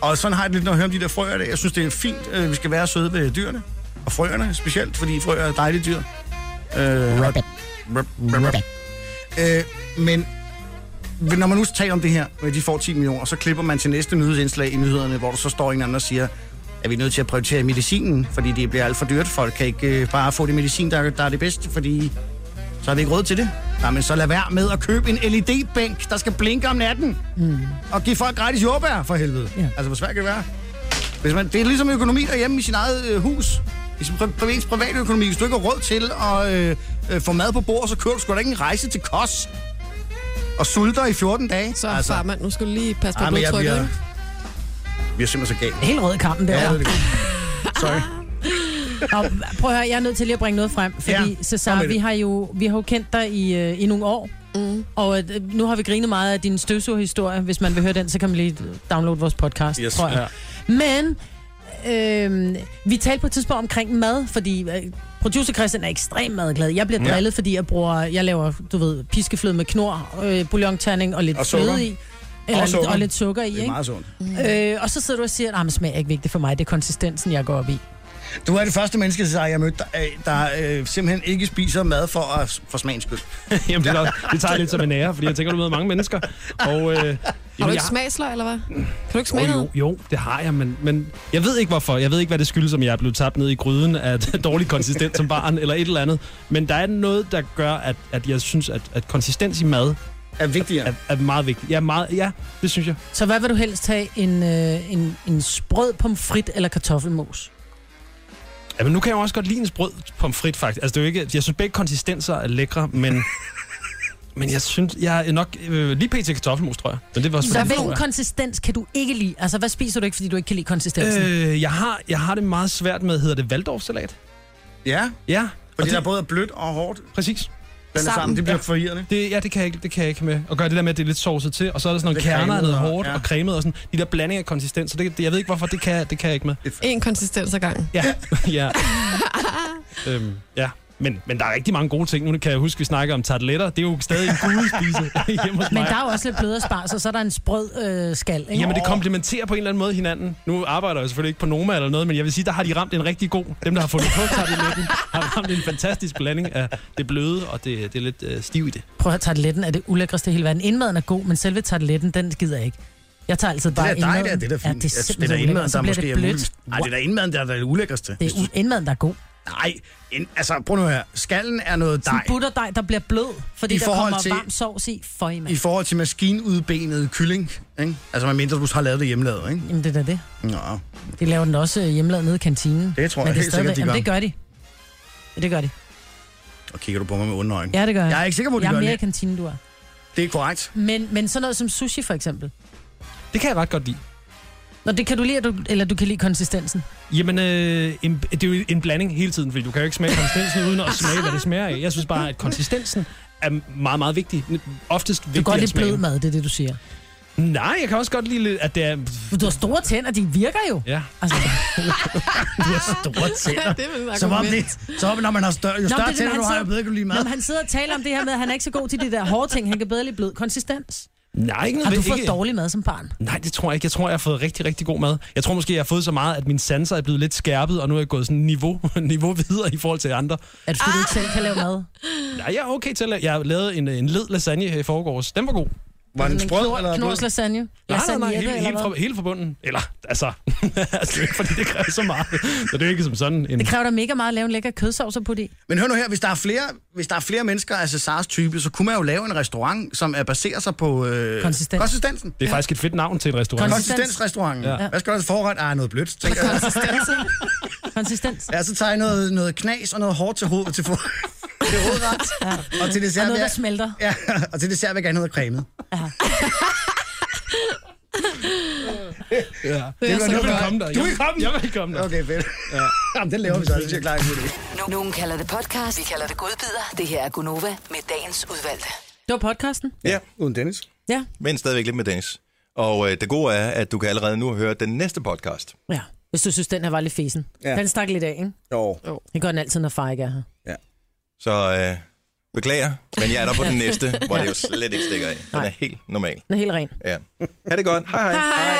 S8: Og sådan har jeg det lidt, når jeg hører om de der frøer der. Jeg synes, det er fint, øh, vi skal være søde ved dyrene. Og frøerne specielt, fordi frøer er dejlige dyr. Øh,
S3: Rabbit.
S8: Rap, rap, rap. Øh, men når man nu taler om det her med de får 10 millioner, så klipper man til næste nyhedsindslag i nyhederne, hvor der så står en eller anden og siger, er vi nødt til at prioritere medicinen, fordi det bliver alt for dyrt. Folk kan ikke øh, bare få det medicin, der, der er det bedste, fordi så har vi ikke råd til det. Nej, men så lad være med at købe en LED-bænk, der skal blinke om natten. Mm. Og give folk gratis jordbær, for helvede. Ja.
S3: Ja.
S8: Altså, hvor svært kan det være? Hvis man, det er ligesom økonomi derhjemme i sin eget øh, hus. I sin pri- private, private økonomi. Hvis du ikke har råd til at øh, øh, få mad på bordet, så kører du sgu da ikke en rejse til Kos. Og sulter i 14 dage.
S4: Så altså. farmand, nu skal du lige passe på
S8: ej, men jeg
S4: blodtrykket.
S8: bliver,
S4: ikke?
S8: vi er simpelthen så galt.
S3: Helt rød i kampen der.
S8: Ja,
S3: Ja.
S8: det er det. Sorry.
S3: Og prøv at høre, jeg er nødt til lige at bringe noget frem, fordi
S8: Ja,
S3: ja,
S8: kom
S3: Cesar,
S8: med det.
S3: vi har jo vi har jo kendt dig i, øh, i nogle år, mm. og øh, nu har vi grinet meget af din støvsugerhistorie. Hvis man vil høre den, så kan man lige downloade vores podcast,
S8: Yes,
S3: tror jeg.
S8: ja.
S3: Men øh, vi talte på et tidspunkt omkring mad, fordi øh, producer Christian er ekstremt madglad. Jeg bliver
S12: Ja.
S3: drillet, fordi jeg bruger, jeg laver, du ved, piskefløde med knor, øh, bouillonterning og lidt
S12: Og sukker.
S3: fløde i. Eller
S12: Og
S3: og, lidt,
S12: sukker.
S3: og lidt sukker i,
S12: Det er meget sundt.
S3: ikke? Øh, og så sidder du og siger, at smag er ikke vigtigt for mig, det er konsistensen, jeg går op i.
S8: Du er det første menneske, der jeg mødte, der, øh, der øh, simpelthen ikke spiser mad for, at, for smagens skyld.
S13: Jamen, det, er nok- det tager jeg lidt som en ære, fordi jeg tænker, du møder mange mennesker. Og, øh, jamen,
S4: Har du
S13: jeg-
S4: ikke smagsløg, eller hvad? Kan du ikke smage
S13: jo,
S4: noget?
S13: jo, jo, det har jeg, men, men jeg ved ikke hvorfor. Jeg ved ikke, hvad det skyldes, om jeg er blevet tabt ned i gryden af [laughs] dårlig konsistens som barn, eller et eller andet. Men der er noget, der gør, at, at jeg synes, at, at konsistens i mad
S8: er vigtigere.
S13: Er, er meget vigtigt. Ja, meget, ja, det synes jeg.
S3: Så hvad vil du helst have? En, øh, en, en sprød pomfrit eller kartoffelmos?
S13: Ja, men nu kan jeg jo også godt lide en sprød pomfrit, faktisk. Altså, det er jo ikke, jeg synes begge konsistenser er lækre,
S15: [laughs]
S13: men... men jeg synes, jeg er nok øh, lige pt. kartoffelmos, tror jeg. Men det var også
S3: Så
S13: fordi-
S3: hvilken konsistens kan du ikke lide? Altså, hvad spiser du ikke, fordi du ikke kan lide konsistensen?
S13: øh, jeg, har, jeg har det meget svært med, hedder det Waldorfsalat?
S8: Ja.
S13: Ja.
S8: Fordi det, der er både blødt og hårdt.
S13: Præcis.
S8: Den er sammen, det bliver for...
S13: forvirrende. Det, ja, det kan, jeg ikke, det kan jeg ikke med. Og gøre det der med, at det er lidt sovset til, og så er der sådan nogle
S8: Lidt
S13: kerner af
S8: cremet
S13: noget
S8: og-
S13: hårdt
S8: ja.
S13: ja. og cremet og sådan. De der blandinger af konsistens, så det, det, jeg ved ikke, hvorfor det kan, det kan jeg ikke med.
S4: En konsistens ad gangen.
S13: Ja. ja. øhm, ja. Men, men der er rigtig mange gode ting. Nu kan jeg huske, vi snakker om tartletter. Det er jo stadig en gudespise hjemme hos
S3: Men
S13: mig.
S3: der er jo også lidt blødere spars, og så er der en sprød øh, skal, ikke?
S13: Jamen, det komplementerer på en eller anden måde hinanden. Nu arbejder jeg selvfølgelig ikke på Noma eller noget, men jeg vil sige, der har de ramt en rigtig god. Dem, der har fundet på
S3: [laughs]
S13: tarteletten, har ramt en fantastisk blanding af det bløde og det, det er lidt øh, stiv i det.
S3: Prøv at høre, tarteletten er det ulækreste i hele verden. Indmaden er god, men selve tarteletten, den gider jeg ikke. Jeg tager altid bare
S8: Det der dej,
S3: indmaden.
S8: der, det er da fint. Jeg
S3: Ja, det er
S8: synes, det er
S3: simpelthen
S8: da indmaden,
S3: ulækkert.
S8: der
S3: Så bliver
S8: måske
S3: det
S8: er
S3: blødt.
S8: muligt. Nej, det er da indmaden, der er det ulækkerste.
S3: Det er u- indmaden, der er god.
S8: Nej, ind, altså prøv nu her. Skallen er noget
S3: Sådan
S8: dej.
S3: en butterdej, der bliver blød, fordi
S8: I
S3: der
S8: forhold
S3: kommer
S8: til-
S3: varm sovs i. Føj, mand.
S8: I forhold til maskinudbenet kylling, ikke? Altså, man mindre, du har lavet det hjemmelavet, ikke?
S3: Jamen, det er da det.
S8: Nå.
S3: De laver den også øh, hjemmelavet nede i kantinen.
S8: Det tror
S3: Men
S8: jeg
S3: er
S8: helt sikkert, de
S3: jamen,
S8: gør.
S3: det gør de. Ja, Det gør de.
S8: Og kigger du på mig med onde øjne?
S3: Ja, det gør jeg.
S8: Jeg er ikke sikker på, at de
S3: jeg
S8: gør
S3: er mere i
S8: det.
S3: kantinen, du er.
S8: Det er korrekt.
S3: Men, men sådan noget som sushi, for eksempel.
S13: Det kan jeg ret godt lide.
S3: Nå, det kan du lide, at du, eller du kan lide konsistensen.
S13: Jamen, øh, en, det er jo en blanding hele tiden, fordi du kan jo ikke smage konsistensen uden at smage, hvad det smager af. Jeg synes bare, at konsistensen er meget, meget vigtig. Oftest
S3: Du kan
S13: vigtigere
S3: godt
S13: end
S3: lide blød
S13: smagen.
S3: mad, det er det, du siger.
S13: Nej, jeg kan også godt lide, lidt, at det er...
S3: Men du har store tænder, de virker jo.
S13: Ja.
S8: [laughs]
S3: Altså,
S8: Du har store [laughs] tænder.
S3: Det er vel et
S8: Som om
S3: argument.
S8: det, som om, når man har større, jo
S3: Nå, men det er
S8: større
S3: det,
S8: tænder,
S3: han
S8: du har,
S3: sidder-
S8: jo bedre kan du lide
S3: Nå,
S8: mad.
S3: men han sidder og taler om det her med, at han er ikke så god til de der hårde ting. Han kan bedre lide blød konsistens.
S13: Nej, ikke
S3: Har du
S13: nødvendigt-
S3: fået
S13: ikke-
S3: dårlig mad som barn?
S13: Nej, det tror jeg ikke. Jeg tror, jeg har fået rigtig, rigtig god mad. Jeg tror måske, jeg har fået så meget, at mine sanser er blevet lidt skærpet, og nu er jeg gået sådan niveau, [laughs] niveau videre i forhold til andre.
S3: Er det fordi, du ikke selv kan lave mad?
S13: Nej, jeg er okay til at lave. Jeg har lavet en, en led lasagne her i forgårs. Den var god.
S8: Var den sprød, eller
S3: Knors lasagne?
S13: Nej, nej, nej,
S3: Lasagnette,
S13: hele,
S3: eller
S13: hele,
S3: hvad?
S13: fra, hele fra bunden. Eller, altså, [laughs] altså, det er ikke, fordi det kræver så meget. Så det er jo ikke som sådan en...
S3: Det kræver da mega meget at lave en lækker kødsovs og putte i.
S8: Men hør nu her, hvis der er flere, hvis der er flere mennesker af Cesars type, så kunne man jo lave en restaurant, som er baseret sig på... Øh,
S3: Konsistens.
S8: Konsistensen.
S13: Det er faktisk et fedt navn til en restaurant.
S8: Konsistensrestauranten.
S13: Ja.
S8: Ja. Hvad skal der til forret? Ah, noget blødt, tænker jeg.
S3: [laughs] Konsistens.
S8: Ja, så tager jeg noget, noget knas og noget hårdt til hovedet til for... [laughs] Det er hovedret. Ja. Og til dessert,
S3: Og noget,
S8: vil
S3: der
S8: jeg-
S3: smelter.
S8: Ja, [laughs] og til dessert vil jeg gerne have noget cremet. Ja. Det,
S13: er
S8: var
S13: så
S8: noget,
S13: godt.
S8: der-
S13: Komme der.
S8: Du vil komme?
S13: Jeg vil komme der.
S8: Okay, fedt. Ja. Jamen, den laver vi så. Det synes jeg er klar en god idé.
S6: Nu- Nogen kalder det podcast, vi kalder det godbider. Det her er Gunova med dagens udvalgte.
S3: Det var podcasten.
S1: Ja.
S8: Uden Dennis.
S3: Ja.
S1: Men stadigvæk lidt med Dennis. Og øh, det gode er, at du kan allerede nu høre den næste podcast.
S3: Ja, hvis du synes, den her var lidt fesen.
S1: Ja.
S3: Ja. Den stak lidt af, ikke?
S8: Jo.
S3: Det gør den altid, når far ikke er her.
S1: Så øh, beklager, men jeg er der på den næste, hvor det jo slet ikke stikker af. Den er helt normal.
S3: Den er helt ren.
S1: Ja. Ha' det godt. Hej hej.
S3: Hej!